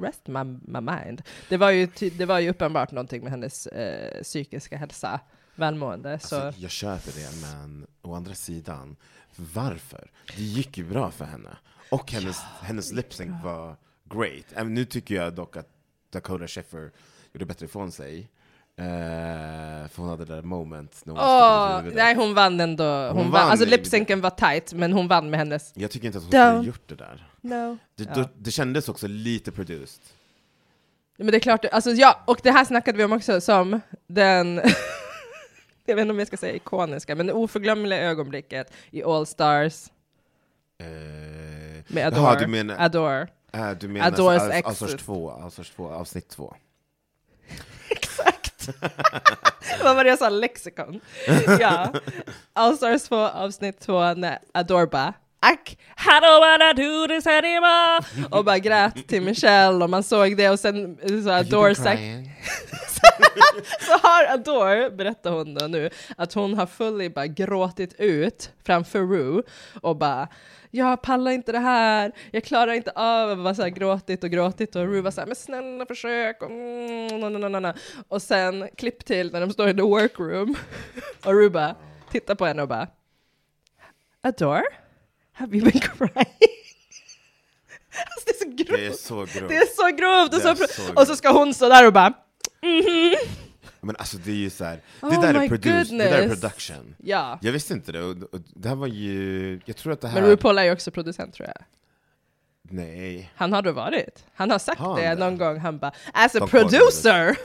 Speaker 1: rest my, my mind. Det var, ju ty- det var ju uppenbart någonting med hennes eh, psykiska hälsa, välmående. Så.
Speaker 2: Alltså, jag köper det, men å andra sidan, varför? Det gick ju bra för henne. Och hennes, hennes lipsync var great. Även nu tycker jag dock att Dakota Sheffer gjorde bättre ifrån sig. Eh, för hon hade det där moment när hon sticker
Speaker 1: Åh,
Speaker 2: ut huvudet.
Speaker 1: nej hon vann ändå. Hon
Speaker 2: Hon
Speaker 1: vann.
Speaker 2: vann
Speaker 1: Alltså
Speaker 2: i-
Speaker 1: lipsynken var tight, men hon vann med hennes...
Speaker 2: Jag tycker inte att hon
Speaker 1: Don't.
Speaker 2: skulle gjort det där.
Speaker 1: No.
Speaker 2: Det,
Speaker 1: Ja.
Speaker 2: det, det kändes också lite produced.
Speaker 1: Men det är klart, alltså ja, och det här snackade vi om också som den... jag vet inte om jag ska säga ikoniska, men det oförglömliga ögonblicket i All Stars
Speaker 2: Eh,
Speaker 1: med Adore.
Speaker 2: jaha, du menar,
Speaker 1: Adore.
Speaker 2: eh, du menar
Speaker 1: Adores
Speaker 2: All-
Speaker 1: exit.
Speaker 2: Allsårs 2, Allsårs 2, avsnitt 2.
Speaker 1: Exakt! Vad var det jag sa? Lexikon. ja. All Stars 2, avsnitt 2, när Adore bara Ack, I don't wanna do this anymore! Och bara grät till Michelle och man såg det och sen så Adore sagt Så har Adore, berättar hon då nu, att hon har fully bara gråtit ut framför Rue och bara jag pallar inte det här, jag klarar inte av att vara så här gråtigt och gråtigt och Rue var så här men snälla försök och mm, na, na, na, na, na. och sen klipp till när de står i the workroom och Rue bara tittar på henne och bara Adore, have you been crying? alltså det är så grovt!
Speaker 2: Det är så grovt.
Speaker 1: Det är så grovt! Och,
Speaker 2: Det är
Speaker 1: så,
Speaker 2: så
Speaker 1: och så ska hon stå där och bara mhm.
Speaker 2: Men alltså det är ju så här, det
Speaker 1: Oh
Speaker 2: där
Speaker 1: my
Speaker 2: är produced, det där är
Speaker 1: goodness.
Speaker 2: production.
Speaker 1: Ja.
Speaker 2: Jag visste inte det, och, och det här var ju, jag tror att det här...
Speaker 1: Men RuPaul är ju också producent tror jag.
Speaker 2: Nej,
Speaker 1: Han har då varit. Han har sagt
Speaker 2: Har han
Speaker 1: det
Speaker 2: det?
Speaker 1: någon gång, han bara “As a
Speaker 2: De kollar
Speaker 1: producer!”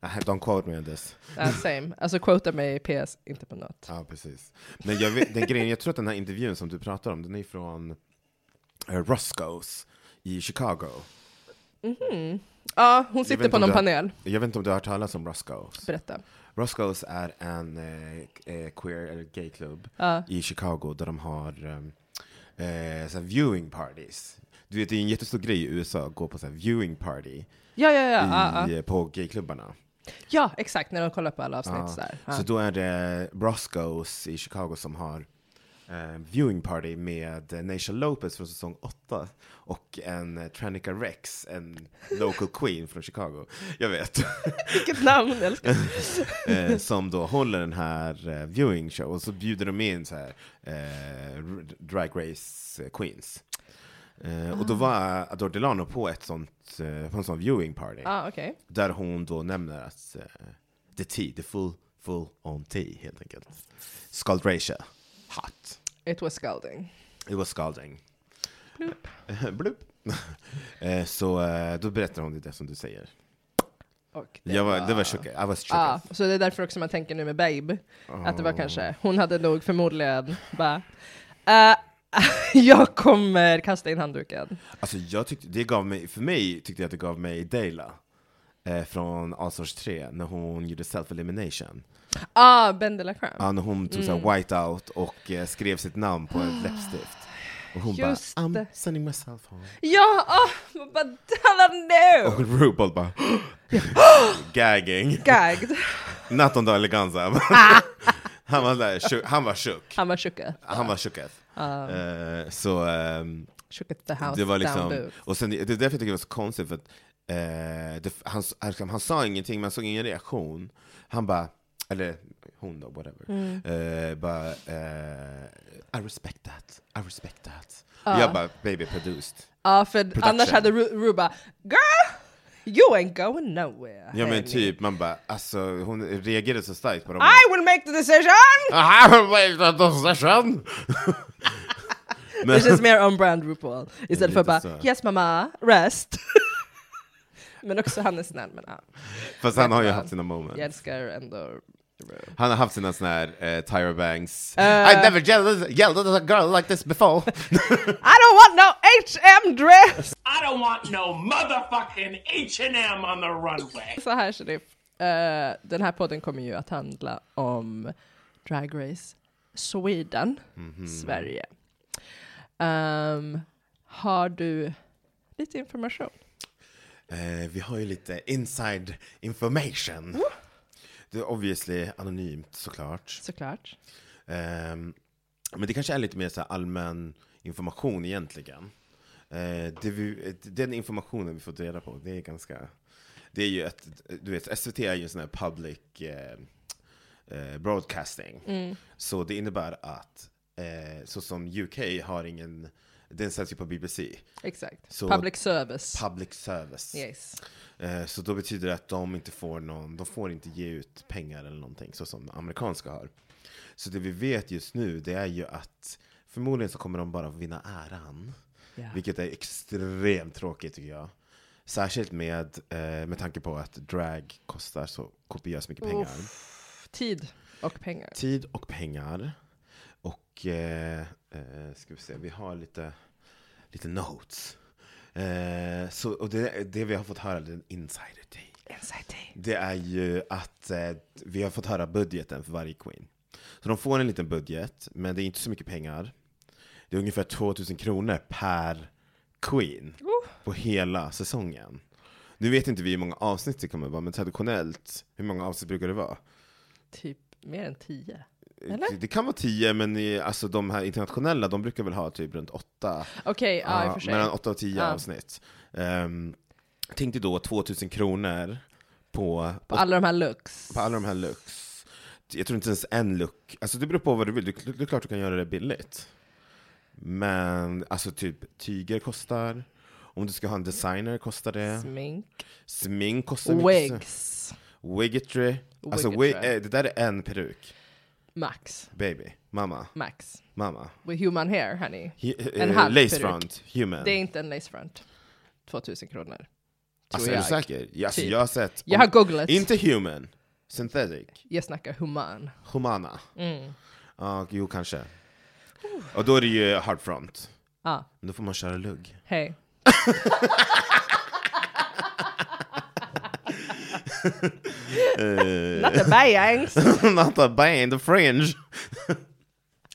Speaker 2: Nej, don't quote me on this.
Speaker 1: Ja, Same. Alltså quota mig i PS, inte på något.
Speaker 2: Ja, precis. Men jag, vet, den grejen, jag tror att den här intervjun som du pratar om, den är från uh, Roscoe's i Chicago.
Speaker 1: Ja, hon
Speaker 2: vet
Speaker 1: sitter
Speaker 2: inte
Speaker 1: på
Speaker 2: om
Speaker 1: någon
Speaker 2: det-
Speaker 1: panel.
Speaker 2: Jag vet inte om du har hört talas om Roscoe's?
Speaker 1: Berätta.
Speaker 2: Roscoe's är en eh, eh, queer eller gayklubb i Chicago där de har um, eh, så här viewing parties. Du vet, det är en jättestor grej i USA att gå på så här viewing party.
Speaker 1: Ja, ja, ja. ja, ja.
Speaker 2: i, eh, på gayklubbarna.
Speaker 1: ja exakt, när de kollar på alla avsnitt
Speaker 2: Ja.
Speaker 1: sådär. Ja.
Speaker 2: Så då är det Roscoe's i Chicago som har eh, viewing party med eh, Naisha Lopez från säsong 8 och en eh, Tranica Rex, en local queen från Chicago, jag vet,
Speaker 1: Vilket namn, jag älskar
Speaker 2: eh, som då håller den här eh, viewing show och så bjuder de in så här eh, r- drag race eh, queens. Eh,
Speaker 1: Ah.
Speaker 2: och då var Adore Delano på ett sånt, eh, på en sån viewing party.
Speaker 1: ah, okej.
Speaker 2: Där hon då nämner att eh, the tea, the full, full on tea helt enkelt. Scaldracia. Hot.
Speaker 1: It was scalding.
Speaker 2: It was scalding. Bloop. Eh, så eh, då berättar hon det som du säger.
Speaker 1: Och
Speaker 2: Det jag var, det var chockad. I was
Speaker 1: Ja,
Speaker 2: chockad.
Speaker 1: så det är därför också man tänker nu med Babe, att
Speaker 2: Ah.
Speaker 1: det var kanske, hon hade nog förmodligen bara "Eh, jag kommer kasta in handduken.
Speaker 2: Alltså jag tyckte, det gav mig, för mig tyckte jag att det gav mig Dela. Eh, från Allsårs 3, när hon gjorde self-elimination.
Speaker 1: Ah, Ben de la Creme.
Speaker 2: Ja, när hon tog mm. white out och eh, skrev sitt namn på ett läppstift. Och hon
Speaker 1: Just
Speaker 2: bara, I'm
Speaker 1: det.
Speaker 2: sending myself home.
Speaker 1: Ja, åh, vad Della nu!
Speaker 2: Och RuPaul bara, gagging.
Speaker 1: Gagged.
Speaker 2: Natton då Eleganza. han, var där, sjuk, han var sjuk.
Speaker 1: Han var tjocka.
Speaker 2: Han var tjockhet. Eh, så ehm,
Speaker 1: Shook at the house
Speaker 2: det var liksom...
Speaker 1: down
Speaker 2: Och sen, det är därför jag tycker det var så konstigt, för att eh, det, han, han, han sa ingenting, men han såg ingen reaktion. Han bara, eller hon då, whatever. Eh, bara, eh, I respect that, I respect that. Och Jag bara, baby produced.
Speaker 1: Ja, för annars
Speaker 2: Production.
Speaker 1: hade Ru, Ru bara Girl! You ain't going nowhere.
Speaker 2: Ja men
Speaker 1: honey.
Speaker 2: typ, man bara, alltså hon reagerade så starkt på dem.
Speaker 1: I will make the decision!
Speaker 2: Aha, wait, that was session!
Speaker 1: Det känns mer on brand RuPaul. Istället för
Speaker 2: lite
Speaker 1: bara
Speaker 2: så.
Speaker 1: Yes mamma, rest. men också han är snäll. Men ja,
Speaker 2: Fast han har ju
Speaker 1: Ja.
Speaker 2: haft sina moments.
Speaker 1: jag älskar ändå Ru.
Speaker 2: Han har haft sina såna här eh, Tyra Banks. I never yelled, yelled at a girl like this before.
Speaker 1: I don't want no H&M dress!
Speaker 5: I don't want no motherfucking H&M on the runway.
Speaker 1: Så här Sheriff, uh, den här podden kommer ju att handla om Drag Race Sweden,
Speaker 2: Mhm.
Speaker 1: Sverige. Ehm, har du lite information?
Speaker 2: eh, vi har ju lite inside information. Det är obviously anonymt såklart.
Speaker 1: Såklart.
Speaker 2: Ehm, men det kanske är lite mer så här allmän information egentligen. Eh, det vi, eh, den informationen vi fått reda på, det är ganska... Det är ju ett, du vet, SVT är ju en sån här public eh, eh, broadcasting. Så det innebär att, eh, så som UK har ingen, den sänds ju på BBC,
Speaker 1: Exakt.
Speaker 2: Så-
Speaker 1: Public service.
Speaker 2: public service.
Speaker 1: yes.
Speaker 2: Eh, Så då betyder det att de inte får någon, de får inte ge ut pengar eller någonting så som amerikanska har. Så det vi vet just nu det är ju att förmodligen så kommer de bara vinna äran.
Speaker 1: Ja.
Speaker 2: Vilket är extremt tråkigt tycker jag. Särskilt med, eh, med tanke på att drag kostar så kopiöst mycket pengar.
Speaker 1: Tid och pengar.
Speaker 2: Tid och pengar. Och eh, eh, ska vi se, vi har lite, lite notes. Eh, så, och det, det vi har fått höra, den insider take. Det är ju att eh, vi har fått höra budgeten för varje queen. Så de får en liten budget, men det är inte så mycket pengar. Det är ungefär 2000 kronor per queen
Speaker 1: Uh.
Speaker 2: på hela säsongen. Nu vet inte vi hur många avsnitt det kommer vara, men traditionellt, hur många avsnitt brukar det vara?
Speaker 1: Typ mer än tio.
Speaker 2: Det- Det kan vara 10, men eh, alltså, de här internationella, de brukar väl ha typ runt 8.
Speaker 1: Okej, ja i och för sig.
Speaker 2: mellan 8 och 10
Speaker 1: Ja.
Speaker 2: avsnitt. Um, tänk dig då 2000 kronor på,
Speaker 1: På alla de här looks.
Speaker 2: på alla de här looks. Jag tror inte ens en look, alltså det beror på vad du vill, du, du, det är klart du kan göra det billigt. Men alltså typ tyger kostar, om du ska ha en designer kostar det,
Speaker 1: Smink.
Speaker 2: smink kostar mycket.
Speaker 1: Wigs.
Speaker 2: Wiggetry. Alltså wig,
Speaker 1: Wiggetry.
Speaker 2: eh, det där är en peruk.
Speaker 1: Max.
Speaker 2: Baby, mamma,
Speaker 1: Max.
Speaker 2: mamma.
Speaker 1: With human hair, honey.
Speaker 2: He,
Speaker 1: En
Speaker 2: eh,
Speaker 1: halv
Speaker 2: lace
Speaker 1: peruk.
Speaker 2: front, human.
Speaker 1: Det är inte en lace front. 2000 kronor.
Speaker 2: alltså är du
Speaker 1: jag.
Speaker 2: säker? Ja, Alltså,
Speaker 1: Typ.
Speaker 2: jag har sett.
Speaker 1: Jag har googlat.
Speaker 2: Inte human, synthetic,
Speaker 1: Jag snackar human.
Speaker 2: humana.
Speaker 1: Mm.
Speaker 2: Ja, jo kanske. Och då är det ju hard front.
Speaker 1: Ah,
Speaker 2: Men Då får man köra lugg.
Speaker 1: hej.
Speaker 2: Eh.
Speaker 1: Not the bangs.
Speaker 2: Not the band, the fringe.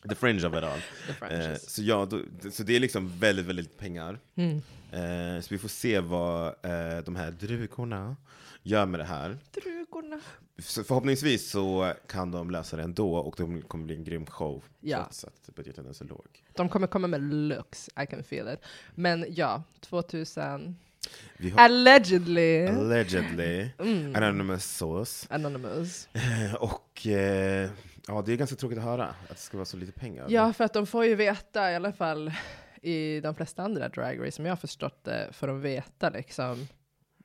Speaker 2: the fringe of it all.
Speaker 1: fringes.
Speaker 2: Eh, så, ja, då, så det är liksom väldigt, väldigt lite pengar.
Speaker 1: Mm.
Speaker 2: Eh, så vi får se vad eh, de här drugorna gör med det här.
Speaker 1: Drugorna.
Speaker 2: Så förhoppningsvis så kan de lösa det ändå och det kommer bli en grym show.
Speaker 1: Ja.
Speaker 2: Trots att budgeten är så låg.
Speaker 1: De kommer komma med looks, I can feel it. Men ja, 2000.
Speaker 2: Vi har
Speaker 1: Allegedly.
Speaker 2: allegedly
Speaker 1: Mm.
Speaker 2: anonymous source.
Speaker 1: Anonymous.
Speaker 2: Och eh, ja, det är ganska tråkigt att höra att det ska vara så lite pengar.
Speaker 1: Ja, för att de får ju veta, i alla fall i de flesta andra Drag Race, som jag har förstått det, får de veta liksom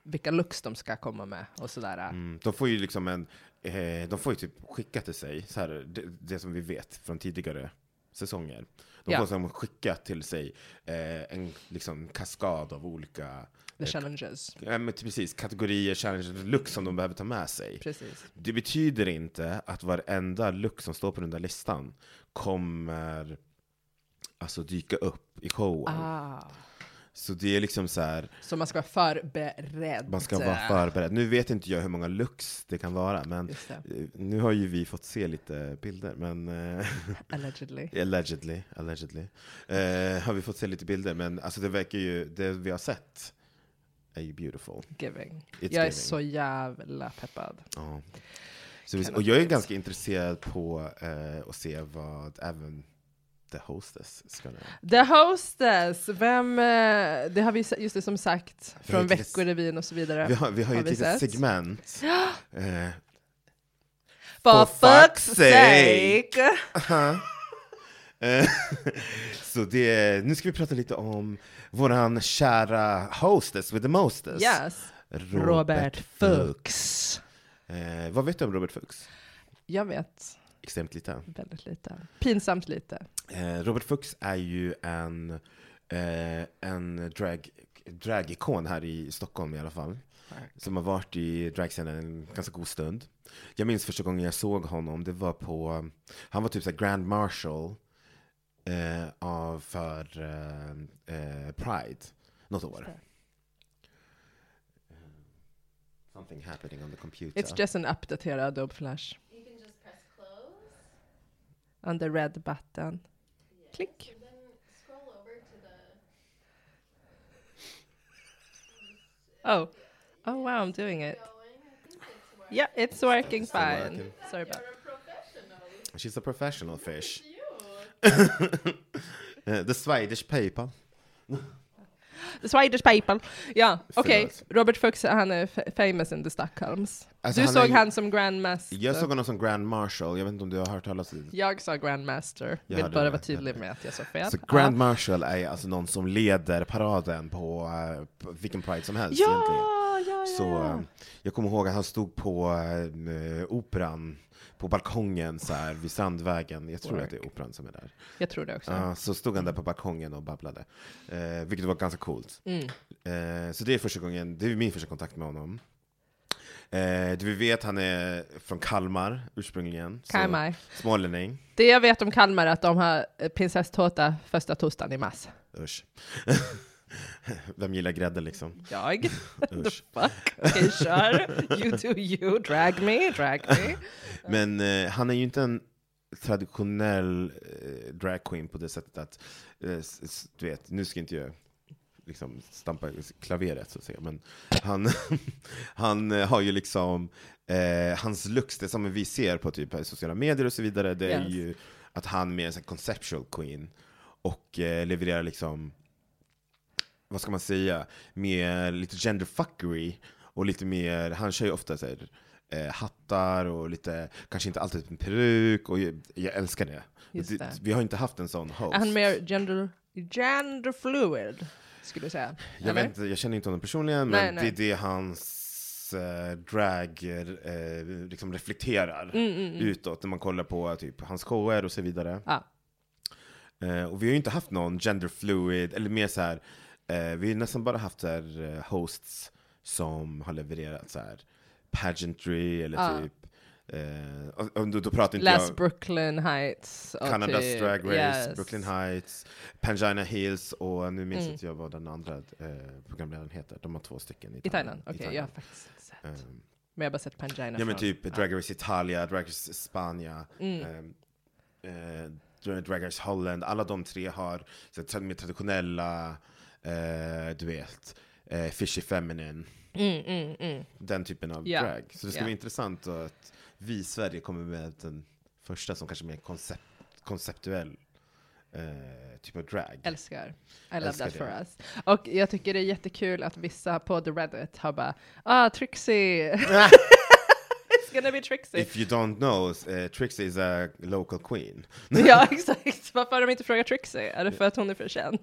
Speaker 1: vilka looks de ska komma med och sådär.
Speaker 2: Mm, De får ju liksom en, eh, de får ju typ skicka till sig, så här, det, det som vi vet från tidigare säsonger. De
Speaker 1: Ja.
Speaker 2: får som skicka till sig eh, en liksom kaskad av olika,
Speaker 1: The challenges.
Speaker 2: ja, men typ precis, kategorier, challenges, look som de behöver ta med sig.
Speaker 1: Precis.
Speaker 2: Det betyder inte att varenda look som står på den där listan kommer alltså dyka upp i showen.
Speaker 1: Ah.
Speaker 2: Så det är liksom så här,
Speaker 1: Så man ska vara förberedd.
Speaker 2: man ska vara förberedd. Nu vet inte jag hur många lux det kan vara, men
Speaker 1: Just det.
Speaker 2: eh, nu har ju vi fått se lite bilder, men eh,
Speaker 1: Allegedly.
Speaker 2: allegedly, allegedly, eh, har vi fått se lite bilder, men alltså det verkar ju, det vi har sett är ju beautiful.
Speaker 1: Giving.
Speaker 2: It's
Speaker 1: jag är
Speaker 2: giving.
Speaker 1: så jävla peppad.
Speaker 2: Ja. Så vi, och jag är ganska intresserad på eh, att se vad även the hostess ska göra.
Speaker 1: The Hostess, vem, eh, det har vi se- just det som sagt
Speaker 2: Vi har
Speaker 1: från
Speaker 2: ju tittat-
Speaker 1: Veckorevyn och så vidare.
Speaker 2: Vi har, vi har ju ett litet
Speaker 1: sett.
Speaker 2: segment. Eh,
Speaker 1: For
Speaker 2: For fuck's
Speaker 1: fuck's sake!
Speaker 2: eh, så det, nu ska vi prata lite om våran kära hostess with the mostess.
Speaker 1: Yes,
Speaker 2: Robert,
Speaker 1: Robert
Speaker 2: Fuchs.
Speaker 1: Fuchs.
Speaker 2: Eh, vad vet du om Robert Fuchs?
Speaker 1: Jag vet
Speaker 2: Extremt lite.
Speaker 1: väldigt lite. Pinsamt lite.
Speaker 2: Eh, Robert Fuchs är ju en, eh, en drag, dragikon här i Stockholm i alla fall. Som har varit i dragscenen en ganska god stund. Jag minns första gången jag såg honom, det var på, han var typ såhär Grand Marshal eh, av, för eh, eh, Pride, något år. Eh, Something happening on the computer.
Speaker 1: It's just en uppdaterad Adobe Flash.
Speaker 4: You can just press close
Speaker 1: On the red button. Klick.
Speaker 4: and then scroll over to the
Speaker 1: Oh. Oh wow, I'm doing it.
Speaker 4: going. I think it's where
Speaker 1: Yeah, it's working fine.
Speaker 2: working.
Speaker 1: Sorry about
Speaker 4: you're a professional.
Speaker 2: She's a professional fish.
Speaker 4: You.
Speaker 2: Eh, the Swedish people.
Speaker 1: The Swedish people. Ja, okej.
Speaker 2: Förlåt.
Speaker 1: Robert Fuchs, han är fa- famous in the Stockholms.
Speaker 2: Alltså,
Speaker 1: du
Speaker 2: han är
Speaker 1: såg
Speaker 2: ju-
Speaker 1: han som grandmaster.
Speaker 2: Jag såg honom som Grand Marshal, jag vet inte om du har hört talas om det?
Speaker 1: Jag sa grandmaster.
Speaker 2: Jag
Speaker 1: Vill
Speaker 2: hörde
Speaker 1: bara
Speaker 2: det,
Speaker 1: vara
Speaker 2: jag
Speaker 1: tydlig med att jag sa fel.
Speaker 2: Så Grand Marshal är alltså någon som leder paraden på, eh, på vilken pride som helst
Speaker 1: ja,
Speaker 2: egentligen.
Speaker 1: ja, ja,
Speaker 2: Så eh,
Speaker 1: ja.
Speaker 2: jag kommer ihåg att han stod på eh, operan, på balkongen så här vid Strandvägen, jag tror att det är operan som är där.
Speaker 1: Jag tror det också.
Speaker 2: Ja, så stod han där på balkongen och babblade, eh, vilket var ganska coolt. Eh, så det är första gången, det är min första kontakt med honom. Eh, du vet, han är från Kalmar ursprungligen. så
Speaker 1: Kalmar.
Speaker 2: Smålänning.
Speaker 1: Det jag vet om Kalmar är att de har eh, prinsesstårta första torsdagen i mars.
Speaker 2: Usch. Vem gillar grädde liksom?
Speaker 1: Jag?
Speaker 2: Usch.
Speaker 1: Fuck. Okej, kör. You do you. Drag me, drag me.
Speaker 2: Men eh, han är ju inte en traditionell eh, drag queen på det sättet att, eh, s- s- du vet, nu ska inte jag liksom stampa i klaveret så att säga, men han, han eh, har ju liksom, eh, hans looks, det som vi ser på typ här sociala medier och så vidare, det är
Speaker 1: Yes.
Speaker 2: ju att han är mer en sån här conceptual queen och eh, levererar liksom vad ska man säga, mer lite genderfuckery och lite mer, han kör ju ofta så här, eh, hattar och lite, kanske inte alltid en peruk och jag, jag älskar det.
Speaker 1: Just
Speaker 2: Det-
Speaker 1: det.
Speaker 2: Vi har inte haft en sån host.
Speaker 1: Är han mer gender, gender fluid? Skulle du säga?
Speaker 2: jag,
Speaker 1: Eller?
Speaker 2: vet inte, jag känner inte honom personligen, men
Speaker 1: Nej, nej.
Speaker 2: det är det hans eh, drag eh, liksom reflekterar
Speaker 1: Mm,
Speaker 2: utåt när man kollar på typ hans shower och så vidare.
Speaker 1: Ja.
Speaker 2: Eh, och vi har ju inte haft någon genderfluid, eller mer så här. Eh, vi har nästan bara haft så här, eh, hosts som har levererat så här pageantry eller
Speaker 1: Ja.
Speaker 2: typ, eh, och, och då, då pratar inte
Speaker 1: Läs
Speaker 2: jag
Speaker 1: Brooklyn Heights. och
Speaker 2: Canadas
Speaker 1: typ-
Speaker 2: Drag Race,
Speaker 1: yes. Mm.
Speaker 2: Brooklyn Heights, Pangina Hills och nu minns inte jag vad den andra eh, programledaren heter, de har två stycken i Ehm,
Speaker 1: I
Speaker 2: Thailand. Eh.
Speaker 1: Thailand? Okej, jag har faktiskt inte sett. men jag har bara sett Pangina.
Speaker 2: Ja men
Speaker 1: från-
Speaker 2: typ Drag Race Italia, Drag Race Spania,
Speaker 1: Mm.
Speaker 2: ehm, eh, eh, Dra- Drag Race Holland, alla de tre har så, här tra- mer traditionella, eh, du vet, eh, fishy feminine,
Speaker 1: Mm, mm, mm.
Speaker 2: den typen av
Speaker 1: Ja.
Speaker 2: drag. Så det ska
Speaker 1: Ja.
Speaker 2: bli intressant att vi i Sverige kommer med den första som kanske är mer koncept, konceptuell eh, typ av drag.
Speaker 1: Älskar. I love
Speaker 2: Älskar
Speaker 1: that for
Speaker 2: det.
Speaker 1: us. Och jag tycker det är jättekul att vissa på the Reddit har bara ah, Trixie. It's gonna be Trixie.
Speaker 2: If you don't know, eh, Trixie is a local queen.
Speaker 1: ja, exakt. Varför har de inte frågat Trixie? Är det för att hon är för känd?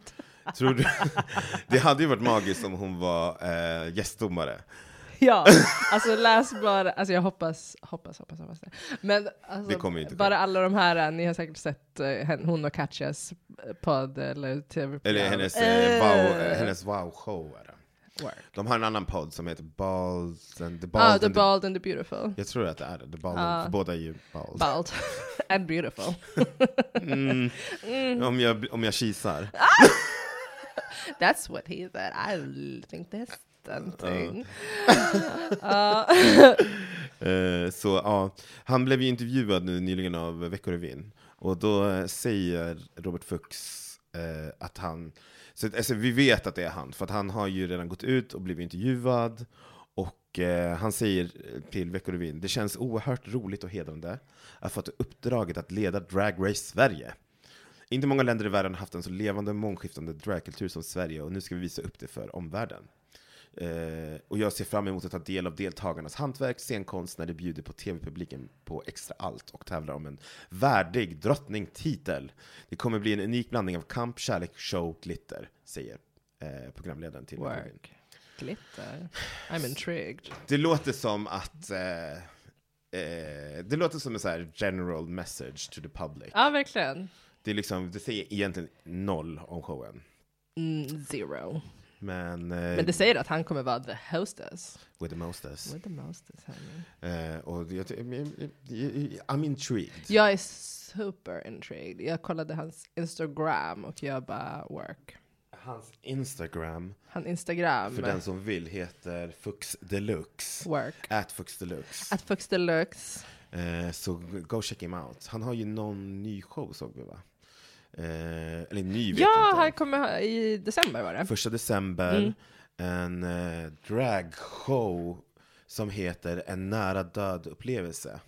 Speaker 2: Tror du? det hade ju varit magiskt om hon var eh, gästdomare.
Speaker 1: ja, alltså läs bara. Alltså jag hoppas, hoppas, hoppas, hoppas det. Men alltså,
Speaker 2: Det kommer ju inte
Speaker 1: bara
Speaker 2: ske.
Speaker 1: alla de här, eh, ni har säkert sett eh, hen- hon och Katjas eh, podd eller tv-program.
Speaker 2: Eller hennes, eh, wow, eh,
Speaker 1: Eh.
Speaker 2: hennes wow-show. är det.
Speaker 1: Work.
Speaker 2: De har en annan podd som heter Balls and the Bald.
Speaker 1: Ah,
Speaker 2: and
Speaker 1: the bald and the beautiful.
Speaker 2: Jag tror att det är det. The bald
Speaker 1: Ah.
Speaker 2: för båda är ju bald.
Speaker 1: Bald and beautiful.
Speaker 2: Om, jag, om jag kisar.
Speaker 1: That's what he said. I think that's
Speaker 2: Uh.
Speaker 1: something. Uh,
Speaker 2: Eh, Så ja, han blev ju intervjuad nu nyligen av Veckorevyn och då eh, säger Robert Fuchs eh, att han, så, att- alltså, vi vet att det är han för att han har ju redan gått ut och blivit intervjuad och eh, han säger till Veckorevyn, det känns oerhört roligt och hedrande att få ta uppdraget att leda Drag Race Sverige. Inte många länder i världen har haft en så levande och mångskiftande dragkultur som Sverige och nu ska vi visa upp det för omvärlden. Eh, och jag ser fram emot att ta del av deltagarnas hantverk, scenkonst när de bjuder på tv-publiken på extra allt och tävlar om en värdig drottningtitel. Det kommer bli en unik blandning av kamp, kärlek, show, glitter, säger eh, programledaren till Veckorevyn.
Speaker 1: Work. Glitter. I'm intrigued.
Speaker 2: Det låter som att eh, eh, det låter som en så här general message to the public.
Speaker 1: Ja, verkligen.
Speaker 2: Det, är liksom, det säger egentligen noll om showen.
Speaker 1: Mm, zero.
Speaker 2: Men, eh,
Speaker 1: Men det säger att han kommer vara the hostess.
Speaker 2: with the mostest.
Speaker 1: With the mostess, honey.
Speaker 2: Eh, och jag, jag, jag, jag, I'm intrigued.
Speaker 1: Jag är super intrigued. Jag kollade hans Instagram och jag bara work.
Speaker 2: Hans Instagram,
Speaker 1: Han Instagram,
Speaker 2: för den som vill, heter Fux Deluxe.
Speaker 1: work.
Speaker 2: At Fux Deluxe.
Speaker 1: Att Fux Deluxe.
Speaker 2: Eh, så go check him out. Han har ju någon ny show såg vi va? Eh, eller ny vet
Speaker 1: Ja,
Speaker 2: jag
Speaker 1: han
Speaker 2: inte.
Speaker 1: kommer ha- i december var det.
Speaker 2: Första december, en eh, dragshow som heter En nära död upplevelse.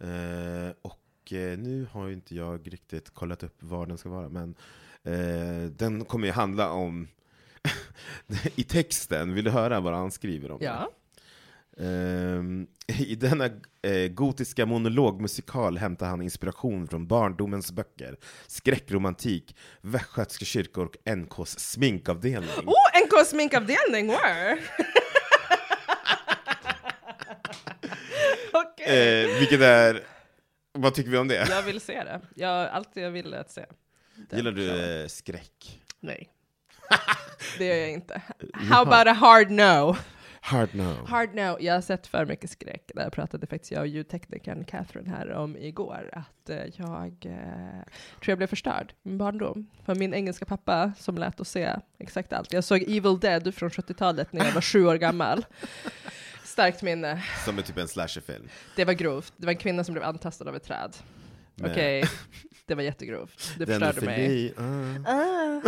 Speaker 2: Eh, och eh, nu har ju inte jag riktigt kollat upp var den ska vara, men eh, den kommer ju handla om I texten, vill du höra vad han skriver om?
Speaker 1: Ja.
Speaker 2: Ehm, I denna eh, gotiska monologmusikal hämtar han inspiration från barndomens böcker, skräckromantik, västgötska kyrkor och NKs sminkavdelning.
Speaker 1: Oh, NK sminkavdelning, work! Okej.
Speaker 2: Eh, vilket är... Vad tycker vi om det?
Speaker 1: Jag vill se det. Jag, allt jag ville att se.
Speaker 2: Gillar du eh, skräck?
Speaker 1: Nej. det gör jag inte. How about a hard no?
Speaker 2: Hard no.
Speaker 1: Hard no. Jag har sett för mycket skräck. Det här pratade faktiskt jag och ljudteknikern Catherine här om igår. Att eh, jag eh, tror jag blev förstörd i min barndom. För min engelska pappa som lät oss se exakt allt. Jag såg Evil Dead från 70-talet när jag var sju år gammal. Starkt minne.
Speaker 2: Som är typ en slasherfilm.
Speaker 1: Det var grovt. Det var en kvinna som blev antastad av ett träd.
Speaker 2: Men-
Speaker 1: Okej, det var jättegrovt. Du
Speaker 2: Den är
Speaker 1: förstörde mig.
Speaker 2: förbi. ah.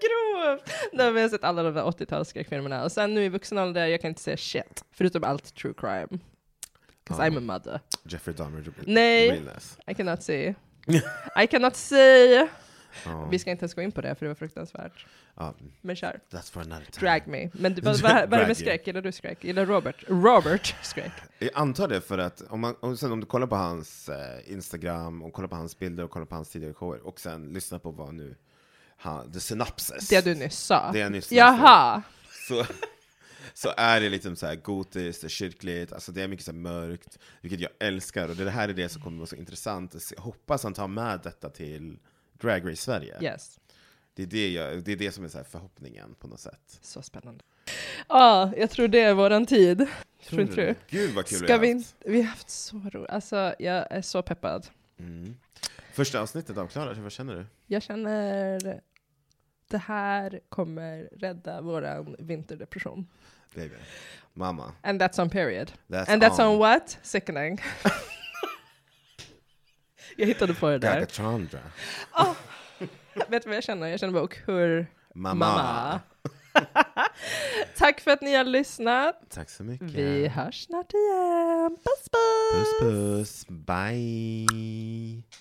Speaker 1: grovt! Nu har jag sett alla de där 80-talsskräckfilmerna. Och sen nu i vuxen ålder, jag kan inte säga shit. Förutom allt true crime. Cause
Speaker 2: Ja.
Speaker 1: I'm a mother.
Speaker 2: Jeffrey Dahmer.
Speaker 1: Nej.
Speaker 2: Realness.
Speaker 1: I cannot see. I cannot see!
Speaker 2: Ja.
Speaker 1: Vi ska inte ens gå in på det, för det var fruktansvärt.
Speaker 2: Ja,
Speaker 1: Men kör.
Speaker 2: that's for another time.
Speaker 1: Drag me. Men du, vad, vad, vad är det
Speaker 2: Drag you.
Speaker 1: med skräck? Gillar du skräck? Gillar Robert? Robert skräck?
Speaker 2: Jag antar det för att om, man, om, sen om du kollar på hans eh, Instagram och kollar på hans bilder och kollar på hans tidigare shower och sen lyssnar på vad nu han, the synopsis.
Speaker 1: Det du nyss sa.
Speaker 2: Det jag nyss sa.
Speaker 1: Jaha!
Speaker 2: Så, så är det liksom så här gotiskt, det är kyrkligt, alltså det är mycket så här mörkt, vilket jag älskar och det här är det som kommer vara så intressant. att se. Jag hoppas han tar med detta till Drag Race Sverige.
Speaker 1: Yes.
Speaker 2: Det, är det, jag, det är det som är så här förhoppningen på något sätt.
Speaker 1: Så spännande. Ja, jag tror det är våran tid. Tror inte du?
Speaker 2: Gud vad kul
Speaker 1: Ska vi
Speaker 2: vi har
Speaker 1: inte...
Speaker 2: haft.
Speaker 1: Vi har haft så roligt. Alltså, jag är så peppad.
Speaker 2: Mm. Första avsnittet avklarat, vad känner du?
Speaker 1: Jag känner det här kommer rädda våran vinterdepression.
Speaker 2: Baby. Mamma.
Speaker 1: And that's on period.
Speaker 2: That's
Speaker 1: And that's on
Speaker 2: on.
Speaker 1: what? Sickening. jag hittade på det där.
Speaker 2: Gagatandra.
Speaker 1: Vet du vad jag känner? Jag känner bara och hur
Speaker 2: Mamma.
Speaker 1: mamma. Tack för att ni har lyssnat.
Speaker 2: Tack så mycket.
Speaker 1: Vi hörs snart igen. Puss puss!
Speaker 2: Puss puss. Bye.